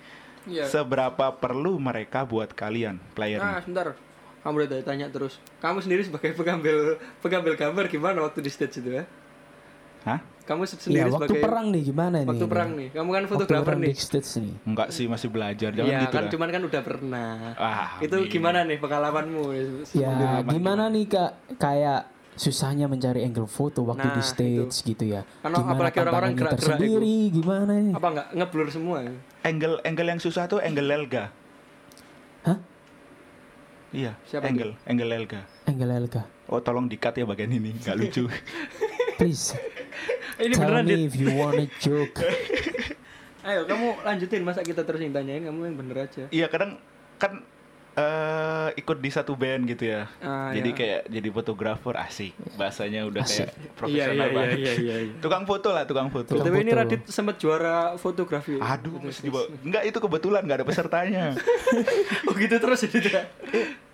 Iya. Seberapa perlu mereka buat kalian, player? Ah, sebentar. Kamu udah tanya terus. Kamu sendiri sebagai pengambil pengambil gambar gimana waktu di stage itu ya? Hah? Kamu se- ya sendiri waktu sebagai perang nih gimana nih? waktu perang nih. Kamu kan Waktu fotografer perang nih. di stage nih. Enggak sih, masih belajar. Jangan Iya, gitu kan lah. cuman kan udah pernah. Ah, itu amin. gimana nih pengalamanmu? Ya, Pengalaman gimana nih Kak kayak susahnya mencari angle foto waktu Nah, di stage gitu ya. Karena gimana apalagi orang-orang tantangannya gerak-gerak tersendiri, gimana nih? Apa enggak ngeblur semua? ya? Angle angle yang susah tuh angle Lelga. Hah? Iya, Siapa angle, angle Lelga. Angle Elga. Oh, tolong dikat ya bagian ini, nggak lucu. Please. Ini tell beneran, Dit. me if you wanna joke. Ayo kamu lanjutin masa kita terus yang tanyain kamu yang bener aja. Iya, kadang kan eh ikut di satu band gitu ya. Ah, jadi iya. kayak jadi fotografer asik. Bahasanya udah Asik. kayak profesional banget. iya iya. Tukang foto lah, tukang foto. Tukang- Tapi ini foto. Radit sempat juara fotografi. Gitu, Aduh, mesti dibawa. Enggak, itu kebetulan nggak ada pesertanya. Oh gitu terus ya Dit, ya?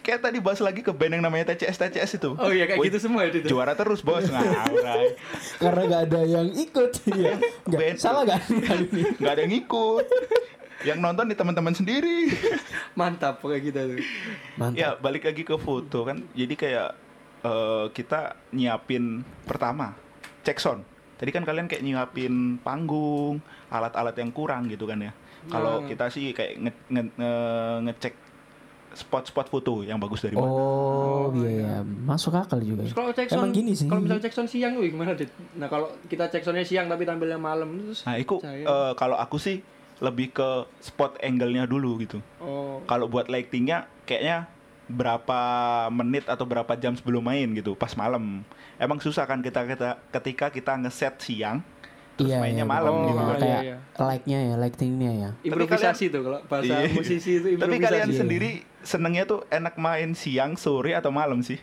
kayak tadi bahas lagi ke band yang namanya TCS TCS itu. Oh iya kayak Wih, gitu semua ya Dit, ya? Juara terus, Bos. Ngawrai. Karena gak ada yang ikut ya. Nggak, Betul. salah gak nih kali Ya, ini? nggak ada yang ngikut. Yang nonton nih teman-teman sendiri. Mantap kayak gitu tuh. Mantap. ya balik lagi ke foto kan. Jadi kayak eh, kita nyiapin pertama cek sound. Tadi kan kalian kayak nyiapin panggung, alat-alat yang kurang gitu kan ya. Kalau Hmm. kita sih kayak nge- nge- nge- ngecek spot-spot foto yang bagus dari mana. Oh, iya ya. Masuk akal juga. Terus ya. kalau cek Emang sound- gini sih. Kalau misalnya cek sound siang wih gimana Dit? Nah, kalau kita cek soundnya siang tapi tampilnya malam terus Nah, itu Cahaya. eh, kalau aku sih lebih ke spot angle-nya dulu gitu. oh Kalau buat lightingnya kayaknya berapa menit atau berapa jam sebelum main gitu pas malam. Emang susah kan kita, kita ketika kita ngeset siang terus Iya, mainnya iya, malam betul. gitu. Oh, kan. kayak iya, like-nya ya, lighting-nya ya. improvisasi tuh kalau bahasa Iya. musisi itu Tapi improvisasi. kalian sendiri senengnya tuh enak main siang, sore atau malam sih?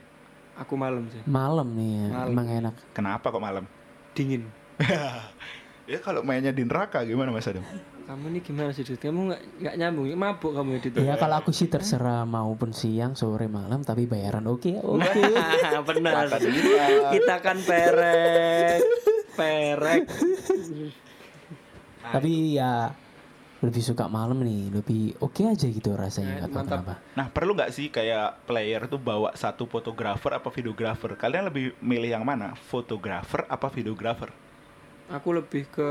aku malam sih. Malam nih ya. Malam. Emang enak. Kenapa kok malam? Dingin. Ya kalau mainnya di neraka gimana Mas Adam? Kamu ini gimana sih Dit? Kamu nggak nggak nyambung, mabuk kamu ya Dit. Ya kalau aku sih terserah maupun siang, sore, malam tapi bayaran oke, oke. Nah, benar. Kita kan perek. Perek. nah, tapi ya lebih suka malam nih, lebih oke aja gitu rasanya nggak tahu mantap. kenapa. Nah, perlu nggak sih kayak player tuh bawa satu fotografer apa videografer? Kalian lebih milih yang mana? Fotografer apa videografer? Aku lebih ke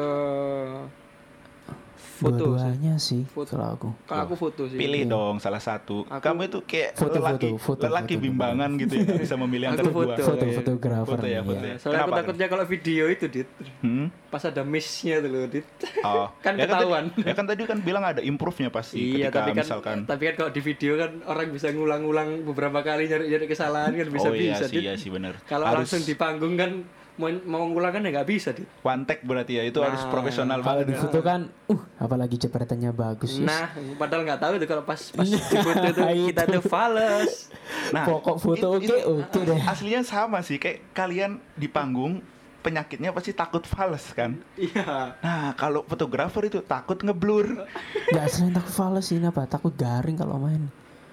foto. sih. Dua-duanya sih Foto. kalau aku. Kalau aku foto sih. Pilih dong salah satu. Aku- Kamu itu kayak Iya. Foto, lelaki, foto, foto, lelaki foto. bimbangan gitu ya, nggak bisa memilih Aku antara dua. foto. Foto Iya. fotografer. Foto ya, nih, foto ya. ya. Soalnya aku Kenapa? takutnya kalau video itu, Dit. Hmm? Pas ada miss-nya tuh loh, Dit. Oh. Kan Ya tadi- ketahuan. ya kan tadi kan bilang ada improve-nya pasti iya, ketika tapi kan misalkan tapi kan kalau di video kan orang bisa ngulang-ngulang beberapa kali nyari-nyari kesalahan kan bisa oh iya bisa, sih, Dit. iya sih benar. Kalau langsung di panggung kan mau, mau ngulang kan ya nggak bisa, Dit. one take berarti ya itu harus Nah, profesional Kalau banget. di ya. foto kan, uh, apalagi jepretannya bagus. yes. Nah, padahal nggak tahu tuh kalau pas pas di foto tuh kita tuh fales. Pokok foto oke, it- it- oke deh. Nah, Aslinya sama sih kayak kalian di panggung penyakitnya pasti takut fals kan. Iya. Nah, kalau fotografer itu takut ngeblur, Gak selain takut fals ini apa? Takut garing kalau main.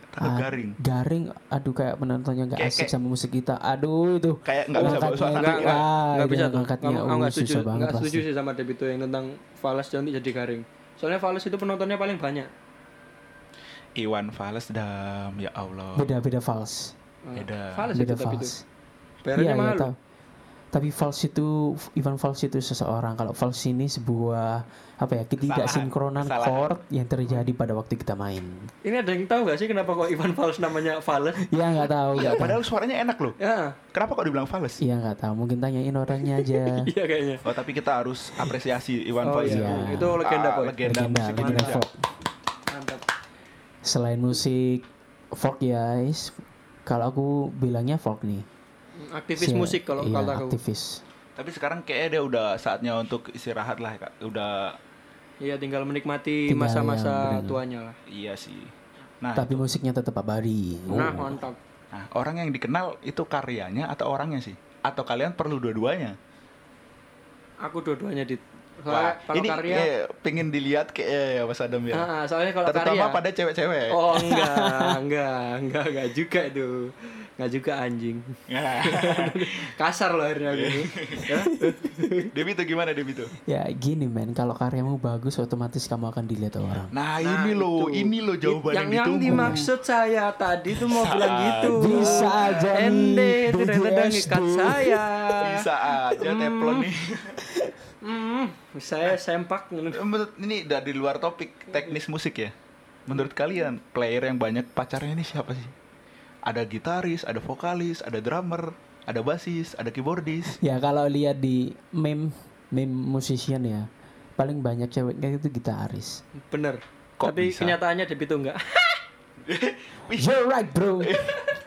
takut Ah, garing. Garing, aduh kayak penontonnya nggak Kayak- asik kayak- sama musik kita. Aduh itu. Kayak nggak bisa bawa Ngangkatnya suara. itu, Enggak, enggak, ah, enggak itu bisa tuh. Ngangkatnya, Aku- aku uh, enggak setuju, susah banget enggak pasti. setuju sih sama Debito yang tentang falas nanti jadi garing. Soalnya falas itu penontonnya paling banyak. Iwan fals dam, ya Allah. Beda-beda fals. Ah, Beda. Fales itu Beda tapi Gitu, itu. fals. gitu. Bayarnya Iya, iya mahal. tahu. tapi Vals itu Ivan Vals itu seseorang kalau Vals ini sebuah apa ya ketidaksinkronan Kesalahan. chord yang terjadi pada waktu kita main Ini ada yang tahu gak sih kenapa kok Ivan Fals namanya Fales? ya nggak tahu nggak tahu Padahal suaranya enak loh. Ya, Kenapa kok dibilang fals? ya nggak tahu mungkin tanyain orangnya aja iya kayaknya. Oh, tapi kita harus apresiasi Iwan Oh Fals itu. iya, Iya. itu legenda Ah, Pak. legenda legenda musik legenda Indonesia. folk Mantap. selain musik folk guys kalau aku bilangnya folk nih Aktivis Si- musik kalau iya, kata aku. aktivis Tapi sekarang kayaknya dia udah saatnya untuk istirahat lah, Kak. Udah Iya, tinggal menikmati Tinggal yang masa-masa benar. tuanya lah. iya sih. Nah, tapi musiknya tetap abadi Ah, Nah, Oh. mantap. nah, orang yang dikenal itu karyanya atau orangnya sih? Atau kalian perlu dua-duanya? Aku dua-duanya dit. Wah, Soalnya kalau ini karya, eh, pengen dilihat kayak eh, ya, Mas Adam ya. Ah, soalnya kalau Terutama karya. pada cewek-cewek. Oh enggak, enggak, enggak, enggak juga itu. Enggak juga anjing. Kasar loh akhirnya aku. Ya. Demi itu gimana Demi itu? ya gini men kalau karyamu bagus otomatis kamu akan dilihat orang Nah, Nah, ini loh, itu. ini loh jawaban yang, yang, yang ditunggu. dimaksud saya tadi tuh mau bilang gitu. Bisa aja nih, Ende ternyata udah BDSD. ngikat saya. Bisa aja Teflon nih. Hmm, Eh. saya sempak. Menurut ini dari luar topik teknis musik ya. Menurut kalian player yang banyak pacarnya ini siapa sih? Ada gitaris, ada vokalis, ada drummer, ada bassis, ada keyboardis. Ya kalau lihat di meme meme musician ya paling banyak ceweknya itu gitaris. Bener. Kok Tapi bisa? kenyataannya Debito enggak. You're right bro.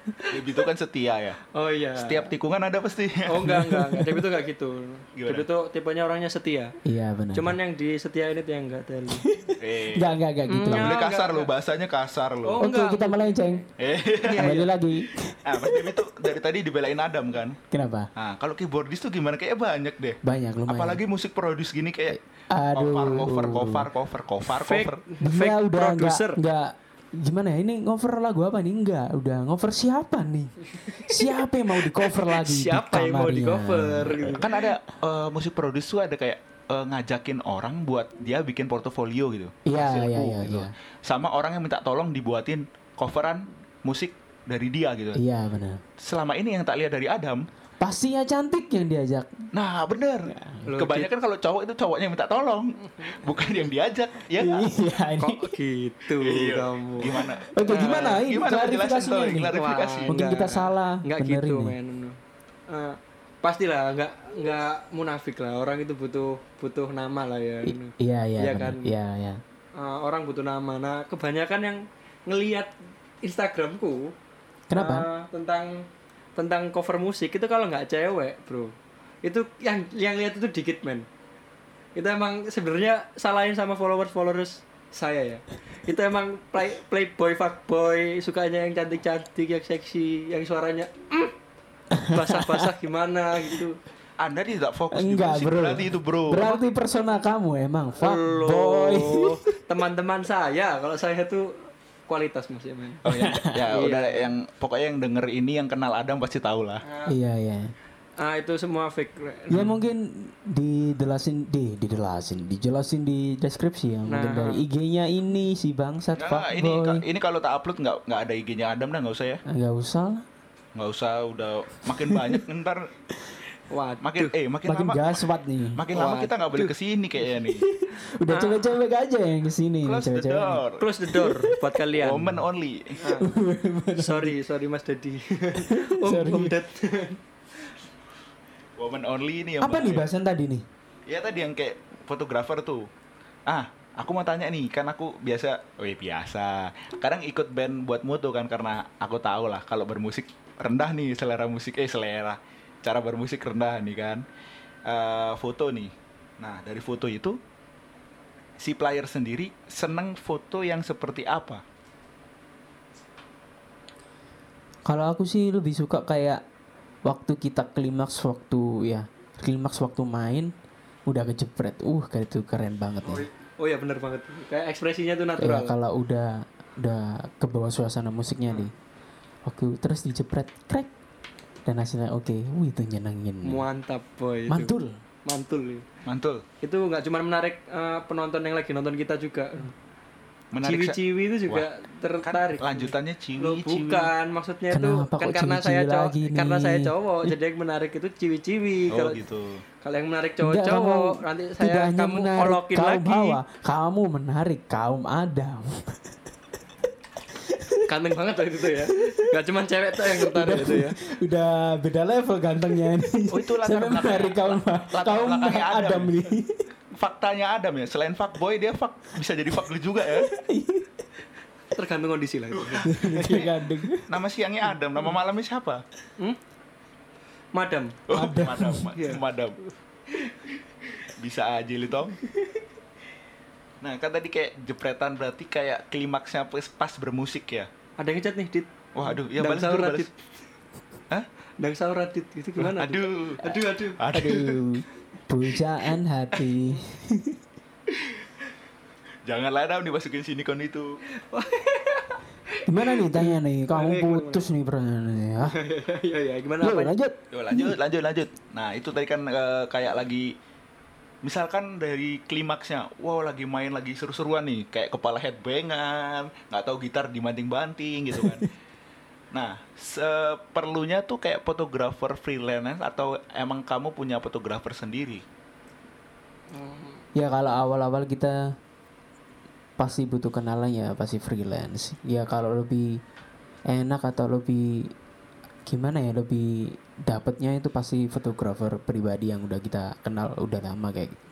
Lebih itu kan setia ya. Oh iya. Setiap tikungan ada pasti. Oh enggak, enggak, enggak. Debito enggak gitu. Gimana? Debito tipenya orangnya setia. Iya benar. Cuman yang di setia ini tuh yang enggak teli. Eh, enggak enggak enggak gitu. nggak boleh enggak, kasar enggak. loh, bahasanya kasar Oh, loh. Oke enggak. Iya, kita melenceng. Eh, Kembali lagi. ah, Mas Demi tuh dari tadi dibelain Adam kan. Kenapa? Nah, kalau keyboardis tuh gimana? Kayaknya banyak deh. Banyak lumayan. Apalagi musik produce gini kayak Aduh. cover, cover, cover, cover, cover, Fake, cover. Dia fake udah enggak producer. enggak gimana ya ini ngover lagu apa nih enggak udah ngover siapa nih siapa yang mau di cover lagi Siapa yang mau di kamarnya? cover gitu. kan ada eh, musik produce tuh ada kayak eh, ngajakin orang buat dia bikin portofolio gitu. Iya, Hasilku iya, iya, gitu. iya. Sama orang yang minta tolong dibuatin coveran musik dari dia gitu. iya benar Selama ini yang tak lihat dari Adam. pastinya cantik yang diajak Nah, bener. Iya. Loh, Kebanyakan kalau cowok itu cowoknya yang minta tolong, bukan yang diajak, ya nggak? iya ini Kok gitu kamu? Gimana? oke gimana Eh, ini Gimana klarifikasinya penjelasan, Toy? ini Klarifikasi. Mungkin enggak. kita salah, Enggak benerin gitu, nih. men. Eh, pastilah enggak enggak munafik lah. Orang itu butuh butuh nama lah ya. I- iya iya Iya benar. kan? iya iya Eh, orang butuh nama. Nah, kebanyakan yang ngelihat Instagramku kenapa eh, tentang tentang cover musik itu kalau nggak cewek, Bro. Itu yang yang lihat itu dikit, men. Itu emang sebenarnya salahin sama followers-followers saya ya. Itu emang play playboy fuckboy, sukanya yang cantik-cantik, yang seksi, yang suaranya mm, basah-basah gimana gitu. Anda tidak fokus enggak di musik, bro berarti itu bro. berarti persona kamu emang fuck Loh, boy teman-teman saya kalau saya tuh kualitas Mas ya, men. Oh, ya, iya. ya udah yang pokoknya yang denger ini yang kenal Adam pasti tahu lah. iya iya Ah, itu semua fake. Re. ya mungkin didelasin di didelasin dijelasin di deskripsi ya mungkin Nah. dari IG-nya ini si bangsat Nggak, fuck nggak, Nah, ini boy ini kalau tak upload nggak nggak ada IG-nya Adam dah nggak usah ya. nggak usah lah Nggak usah udah makin banyak ntar Waduh. makin eh makin, makin lama gaswat nih makin lama kita nggak boleh kesini kayaknya nih. udah cewek-cewek aja yang kesini Nah. Iya, Close the cewek-cewek Iya. door. Close the door buat kalian. Woman only. sorry, sorry Mas Dedi. om, Sorry. om Ded. Woman only ini yang apa nih bahaya. bahasan tadi nih Ya tadi yang kayak fotografer tuh. Ah, aku mau tanya nih, kan aku biasa, weh biasa. Kadang ikut band buat moto kan karena aku tahu lah kalau bermusik rendah nih selera musik eh selera cara bermusik rendah nih kan. Eh foto nih. Nah, dari foto itu si player sendiri seneng foto yang seperti apa? Kalau aku sih lebih suka kayak waktu kita klimaks waktu ya klimaks waktu main udah kejepret. Uh, kayak itu keren banget ya. Oh ya benar banget. Kayak ekspresinya tuh Iya, natural. kalau udah udah ke bawah suasana musiknya nih. Waktu terus dijepret, krek. Dan hasilnya oke. Wih, itu nyenengin. Mantap boy. itu. Mantul. Mantul. iya. Mantul. Itu nggak cuma menarik eh, penonton yang lagi nonton kita juga. Menarik sa- ciwi-ciwi itu juga kan tertarik lanjutannya Loh, ciwi ciwi bukan maksudnya itu Kenapa kan kok karena saya ciwi-ciwi cowok lagi karena saya nih? cowok jadi yang menarik itu ciwi-ciwi oh kalau gitu kalau yang menarik Enggak, kamu cowok-cowok nanti tidak saya hanya kamu menarik olokin kaum lagi Hawa, kamu menarik kaum Adam. ganteng banget loh itu tuh ya gak cuman cewek tuh yang tertarik itu ya Udah beda level gantengnya ini. Oh, itu latar Saya belakang- menarik kaum latar kaum belakangnya Adam, Adam. ini. faktanya Adam ya selain fuckboy dia fuck bisa jadi fuckgirl juga ya tergantung kondisi lah itu Dia gandeng. nama siangnya Adam nama malamnya siapa hmm? madam oh, Adam. madam ma- Iya. madam bisa aja lu Tom nah kan tadi kayak jepretan berarti kayak klimaksnya pas, pas bermusik ya ada yang ngechat nih dit wah aduh ya Dang balas sahur, dulu balas Radit. Hah? dan sahur dit itu gimana Dit? aduh aduh aduh aduh Aduh, pujaan hati. janganlah Adam dimasukin sinikon itu Gimana nih tanya nih, kamu Balik, putus nih pertanyaannya ya. ya ya gimana Yuk, apa lanjut. Yo, lanjut, lanjut, lanjut. Nah, itu tadi kan eh, kayak lagi misalkan dari klimaksnya, wow lagi main lagi seru-seruan nih, kayak kepala headbangan, nggak tahu gitar dibanting-banting gitu kan. nah, seperlunya tuh kayak fotografer freelance atau emang kamu punya fotografer sendiri? Ya kalau awal-awal kita pasti butuh kenalan ya pasti freelance. Ya kalau lebih enak atau lebih gimana ya lebih dapatnya itu pasti fotografer pribadi yang udah kita kenal udah lama kayak gitu.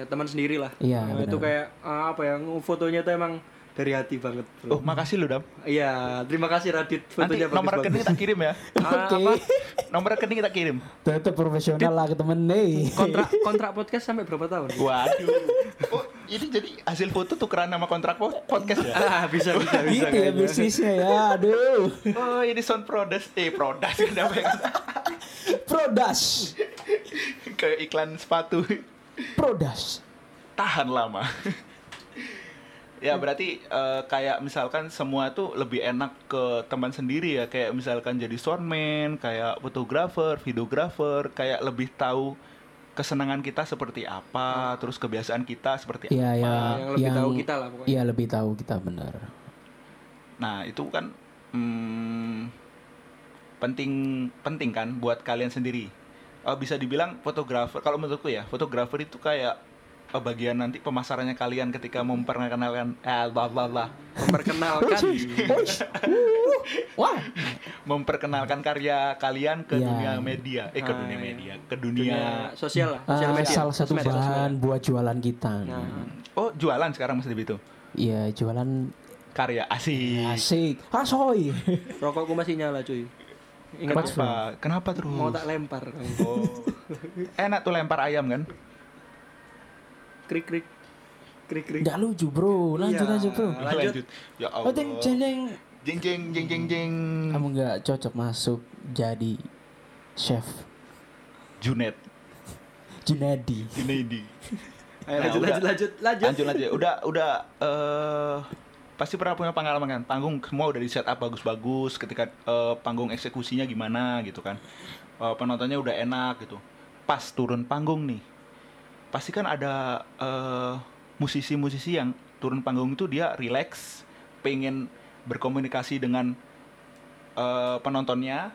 ya teman sendiri lah Iya, Nah, itu kayak ah, apa ya fotonya tuh emang dari hati banget bro. Oh, makasih lu, Dam. Iya, terima kasih Radit Nanti fotonya nomor rekening bagus-bagus. kita kirim ya. Ah, Oke. apa? Nomor rekening kita kirim. Tetap profesional lah ke temen nih. Kontrak kontrak podcast sampai berapa tahun? Waduh. Oh, ini jadi hasil foto tukeran nama kontrak po- podcast ya? ah, bisa bisa bisa. gitu ya kayaknya. bisnisnya ya. Aduh. Oh ini sound product eh product kenapa ya? Prodas. kayak iklan sepatu Prodas. tahan lama. ya berarti eh, kayak misalkan semua tuh lebih enak ke teman sendiri ya kayak misalkan jadi soundman, kayak fotografer, videografer, kayak lebih tahu kesenangan kita seperti apa, terus kebiasaan kita seperti Iya apa. ya. Yang lebih tahu kita lah pokoknya. Iya lebih tahu kita benar. Nah itu kan hmm, penting penting kan buat kalian sendiri. Eh, bisa dibilang fotografer kalau menurutku ya fotografer itu kayak eh, bagian nanti pemasarannya kalian ketika memperkenalkan eh, blah, blah, blah. Memperkenalkan. Wah. memperkenalkan karya kalian ke Iya. dunia media eh ke Ah, dunia iya. media ke dunia dunia sosial lah, sosial Ah, media. salah satu Sosmed, sosmed. bahan buat jualan kita. Nah, oh jualan sekarang masih begitu Iya jualan karya Iya. asik asik, asoy. rokokku masih nyala cuy. Ingat kenapa kenapa terus mau tak lempar kamu. oh. enak tuh lempar ayam kan Krik krik. Krik krik. Nggak lucu bro, lanjut Iya. lanjut bro. Lanjut. ya Oh Allah jeng jeng jeng. jeng jeng jeng jeng jeng kamu nggak cocok masuk jadi chef Junet Junadi. Junaidi Ayo Nah, Eh, udah. lanjut, lanjut lanjut lanjut. lanjut lanjut udah udah eh pasti pernah punya pengalaman kan panggung semua udah di setup bagus-bagus ketika eh, panggung eksekusinya gimana gitu kan Eh, penontonnya udah enak gitu pas turun panggung nih pasti kan ada eh, musisi-musisi yang turun panggung itu dia relax pengen berkomunikasi dengan eh, penontonnya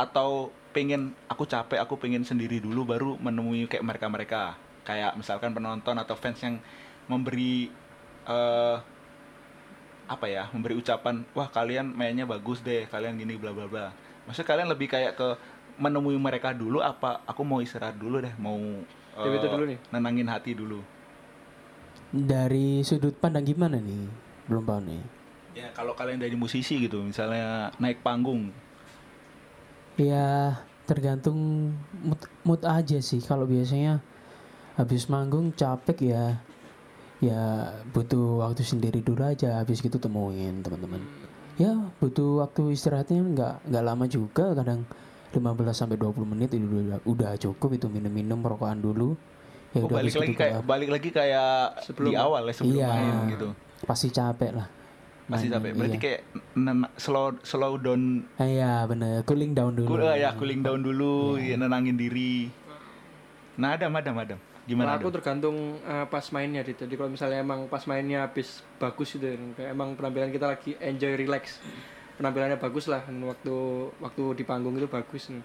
atau pengen aku capek aku pengen sendiri dulu baru menemui kayak mereka mereka kayak misalkan penonton atau fans yang memberi eh apa ya memberi ucapan wah kalian mainnya bagus deh kalian gini bla bla bla maksudnya kalian lebih kayak ke menemui mereka dulu apa aku mau istirahat dulu deh mau Ya, itu eh, dulu nih. nenangin hati dulu Dari sudut pandang gimana nih? Belum paham nih. ya kalau kalian dari musisi gitu misalnya naik panggung Ya tergantung mood, mood aja sih. Kalau biasanya habis manggung capek ya, ya butuh waktu sendiri dulu aja. Habis gitu temuin teman-teman. Ya butuh waktu istirahatnya nggak nggak lama juga. Kadang 15 sampai 20 menit itu udah, udah cukup itu minum-minum rokokan dulu. Ya oh, balik habis lagi gitu kayak baru- balik lagi kayak Sebelum- di awal ya sebelum Iya. main gitu pasti capek lah. masih Main- capek berarti iya. kayak nen- slow slow down eh, Ah, Iya bener cooling down dulu. Cool, ya cooling down dulu, ya, nenangin diri. Nah, ada, ada, ada. Gimana? Kalau aku Dul? tergantung eh, pas mainnya gitu. Jadi kalau misalnya emang pas mainnya habis bagus gitu ya, kayak emang penampilan kita lagi enjoy relax. Penampilannya bagus lah dan waktu waktu di panggung itu bagus nih.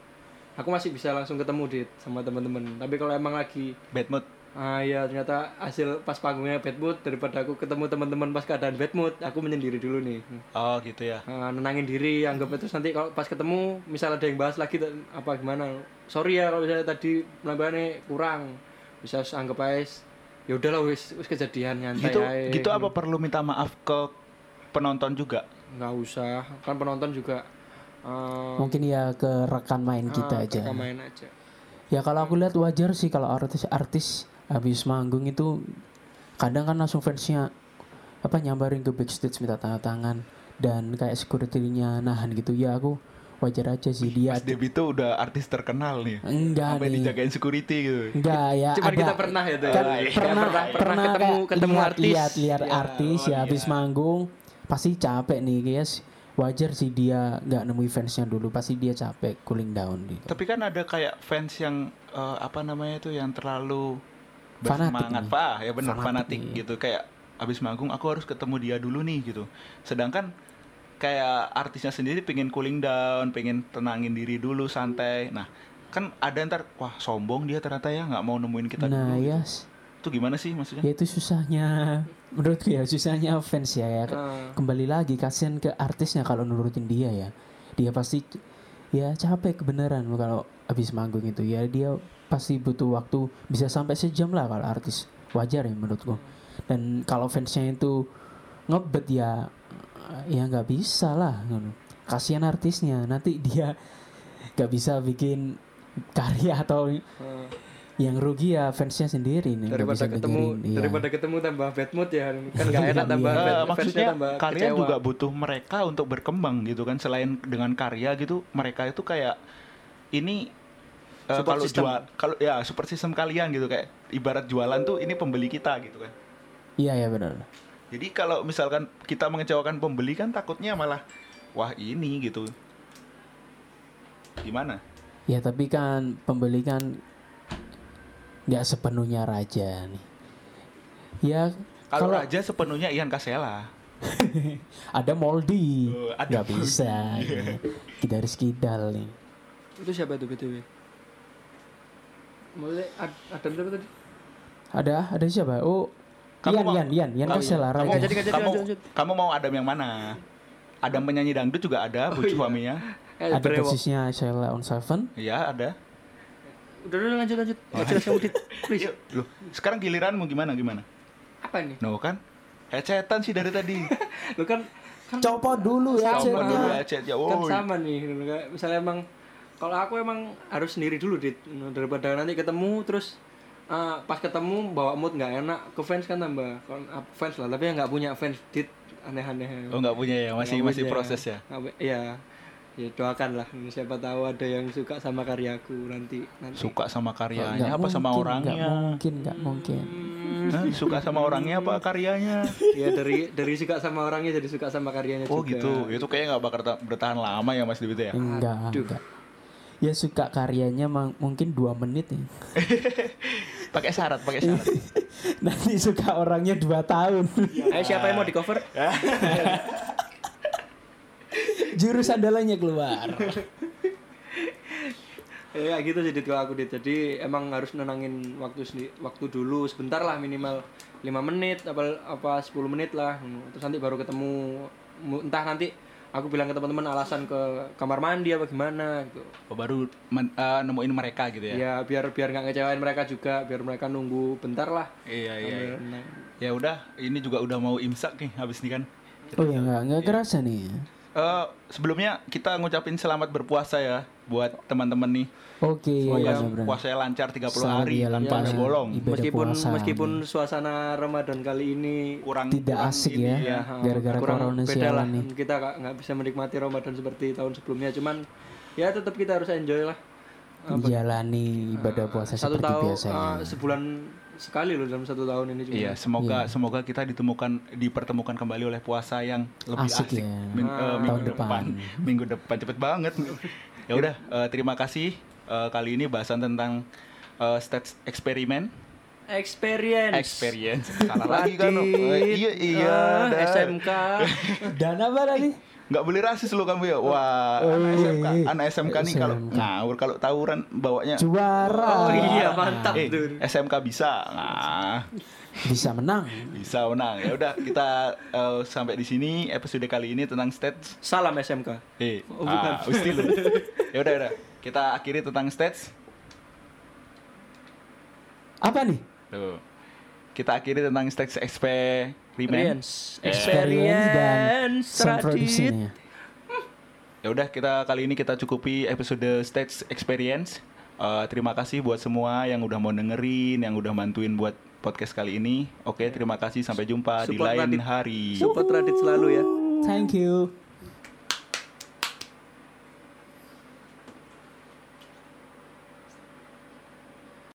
Aku masih bisa langsung ketemu dit sama teman-teman. Tapi kalau emang lagi Bad mood. ah ya ternyata hasil pas panggungnya bad mood daripada aku ketemu teman-teman pas keadaan bad mood, aku menyendiri dulu nih. Oh gitu ya. Ah, nenangin diri, anggap itu nanti kalau pas ketemu misal ada yang bahas lagi t- apa gimana. Sorry ya kalau misalnya tadi penampilannya kurang. Bisa s- anggap aja s- ya udahlah wis wis kejadian nyantai Gitu aja. gitu iya. apa perlu minta maaf ke penonton juga? nggak usah. Kan penonton juga eh, Mungkin ya ke rekan main kita ah, aja. kakak main aja. Ya kalau aku lihat wajar sih kalau artis-artis habis manggung itu kadang kan langsung fansnya apa nyambarin ke backstage minta tanda tangan dan kayak security-nya nahan gitu ya aku wajar aja sih dia Mas Debi tuh udah artis terkenal nih. enggak Sampai nih dijagain security gitu. enggak ya Cuman ada kita pernah ya tuh. kan ya. pernah, Kayak pernah pernah ketemu kayak ketemu lihat, artis. lihat lihat Ya, artis ya habis manggung pasti capek nih guys wajar sih dia nggak nemui fansnya dulu pasti dia capek cooling down gitu Tapi kan ada kayak fans yang eh, apa namanya tuh yang terlalu Fanatik bersemangat, nih. Pak, ya benar Fanatik fanatik, nih. gitu kayak abis manggung aku harus ketemu dia dulu nih gitu. Sedangkan kayak artisnya sendiri pengen cooling down, pengen tenangin diri dulu santai. Nah, kan ada ntar wah sombong dia ternyata ya nggak mau nemuin kita nah dulu. ya Itu gimana sih maksudnya? ya itu susahnya menurutku ya susahnya fans ya, ya. Ah. kembali lagi kasihan ke artisnya kalau nurutin dia ya dia pasti ya capek kebenaran kalau habis manggung itu ya dia pasti butuh waktu bisa sampai sejam lah kalau artis wajar ya menurutku dan kalau fansnya itu ngebet ya ya nggak bisa lah ngono. kasihan artisnya nanti dia nggak bisa bikin karya atau Ah. yang rugi ya fansnya sendiri nih nggak daripada bisa ketemu dengerin, iya. daripada ketemu tambah bad mood ya kan nggak enak Iya. tambah Eh, bad mood, fansnya maksudnya tambah kalian kecewa. juga butuh mereka untuk berkembang gitu kan selain dengan karya gitu mereka itu kayak ini eh, Support kalau system. jual kalau ya super sistem kalian gitu kayak ibarat jualan tuh ini pembeli kita gitu kan iya ya benar jadi kalau misalkan kita mengecewakan pembeli kan takutnya malah wah ini gitu gimana Ya tapi kan pembeli kan nggak sepenuhnya raja nih. Ya kalau kalau raja sepenuhnya Ian Kasela ada Moldi Oh, ada nggak bisa. ya. Kita harus kidal nih. itu siapa itu btw mulai ad- ada berapa tadi Ada ada siapa? Oh Kamu Ian, mau- Ian Ian Ian Kamu- Kasela kamu, raja. Nggak jadi, nggak jadi, kamu, lanjut, lanjut. kamu mau Adam yang mana Adam penyanyi dangdut juga ada Oh bucu suaminya eh, Ada Brewok. persisnya Sheila on Seven. Iya ada udah udah lanjut lanjut nggak jelas kamu dit Please. Yuk, loh, sekarang giliranmu gimana gimana? apa ini No kan? Hecetan sih dari tadi. lu kan kan Copot dulu ya Sama chatnya. dulu hecet ya. kan Woi. sama nih Kayak misalnya emang kalau aku emang harus sendiri dulu dit daripada nanti ketemu terus eh, pas ketemu bawa mood nggak enak ke fans kan tambah Kon- fans lah tapi yang nggak punya fans dit aneh-aneh Oh nggak punya ya, masih Nggak masih punya. proses ya. Nggak pu- Iya. Ya doakan lah. Siapa tahu ada yang suka sama karyaku nanti. nanti. Suka sama karyanya Nggak Iya, apa sama mungkin, orangnya? Nggak mungkin nggak mungkin. Hmm, Hah? Suka sama orangnya apa karyanya? ya dari dari suka sama orangnya jadi suka sama karyanya Oh juga. gitu. Itu kayaknya nggak bakal ta- bertahan lama ya Mas Dibit ya. Enggak enggak. Ya suka karyanya mang- mungkin dua menit nih. Pakai syarat, pakai syarat. Nanti suka orangnya dua tahun. Ayo siapa yang mau di cover? Ya. Jurus andalannya keluar. Ya kayak gitu jadi kalau aku dit. Jadi emang harus nenangin waktu sendi- waktu dulu sebentar lah minimal 5 menit apa apa 10 menit lah. Terus nanti baru ketemu Mu- entah nanti aku bilang ke teman-teman alasan ke kamar mandi apa gimana gitu. Oh, Baru men- eh, nemuin mereka gitu ya. Ya biar biar nggak ngecewain mereka juga, biar mereka nunggu bentar lah. Iya iya. iya. Nah, Ya udah, ini juga udah mau imsak nih habis ini kan. Oh ya nggak nggak iya. kerasa nih. Eh, sebelumnya kita ngucapin selamat berpuasa ya buat teman-teman nih. Oke Semoga ya benar. puasanya lancar 30 Selamat hari jalan tanpa puasa. bolong. Ibadah Meskipun puasa. meskipun suasana Ramadan kali ini Kurang Tidak kurang asik ini ya, ya. gara-gara corona beda lah. sialan nih. Kita nggak nggak bisa menikmati Ramadan seperti tahun sebelumnya. Cuman ya tetap kita harus enjoy lah. Jalani ibadah puasa Ah, seperti Satu ya. tahun biasanya. eh, sebulan sekali loh dalam satu tahun ini cuma. Iya, semoga semoga kita ditemukan dipertemukan kembali oleh puasa yang lebih asik, Asik ya. Min- eh, minggu depan. depan. minggu depan cepet banget. ya udah, eh, terima kasih Eh, kali ini bahasan tentang eh, stats eksperimen. experience. Experience. Salah lagi kan. Wadid, Om. Eh, Iya iya. ah, dah. SMK. Dan apa tadi? Nggak boleh rasis lo kamu ya. Wah, anak Oh, SMK, iya. anak SMK nih kalau SMK. ngawur kalau tawuran bawanya Juara. Ya. Oh iya mantap eh, tuh. SMK bisa. Nah, Bisa menang. bisa menang. Ya udah kita eh, sampai di sini episode kali ini tentang stats. Salam SMK. Eh, Oh, ah, bukan. Usti lu. ya udah udah. Kita akhiri tentang stats. Apa nih? Tuh. Kita akhiri tentang stats eksperimen. Experience. Eh. Experience dan ya. Experience. sound Radit. production-nya. Ya udah kita kali ini kita cukupi episode stats experience. Eh, terima kasih buat semua yang udah mau dengerin, yang udah bantuin buat podcast kali ini. Oke, terima kasih sampai jumpa di Support lain Radit. hari. Support Radit selalu ya. Thank you.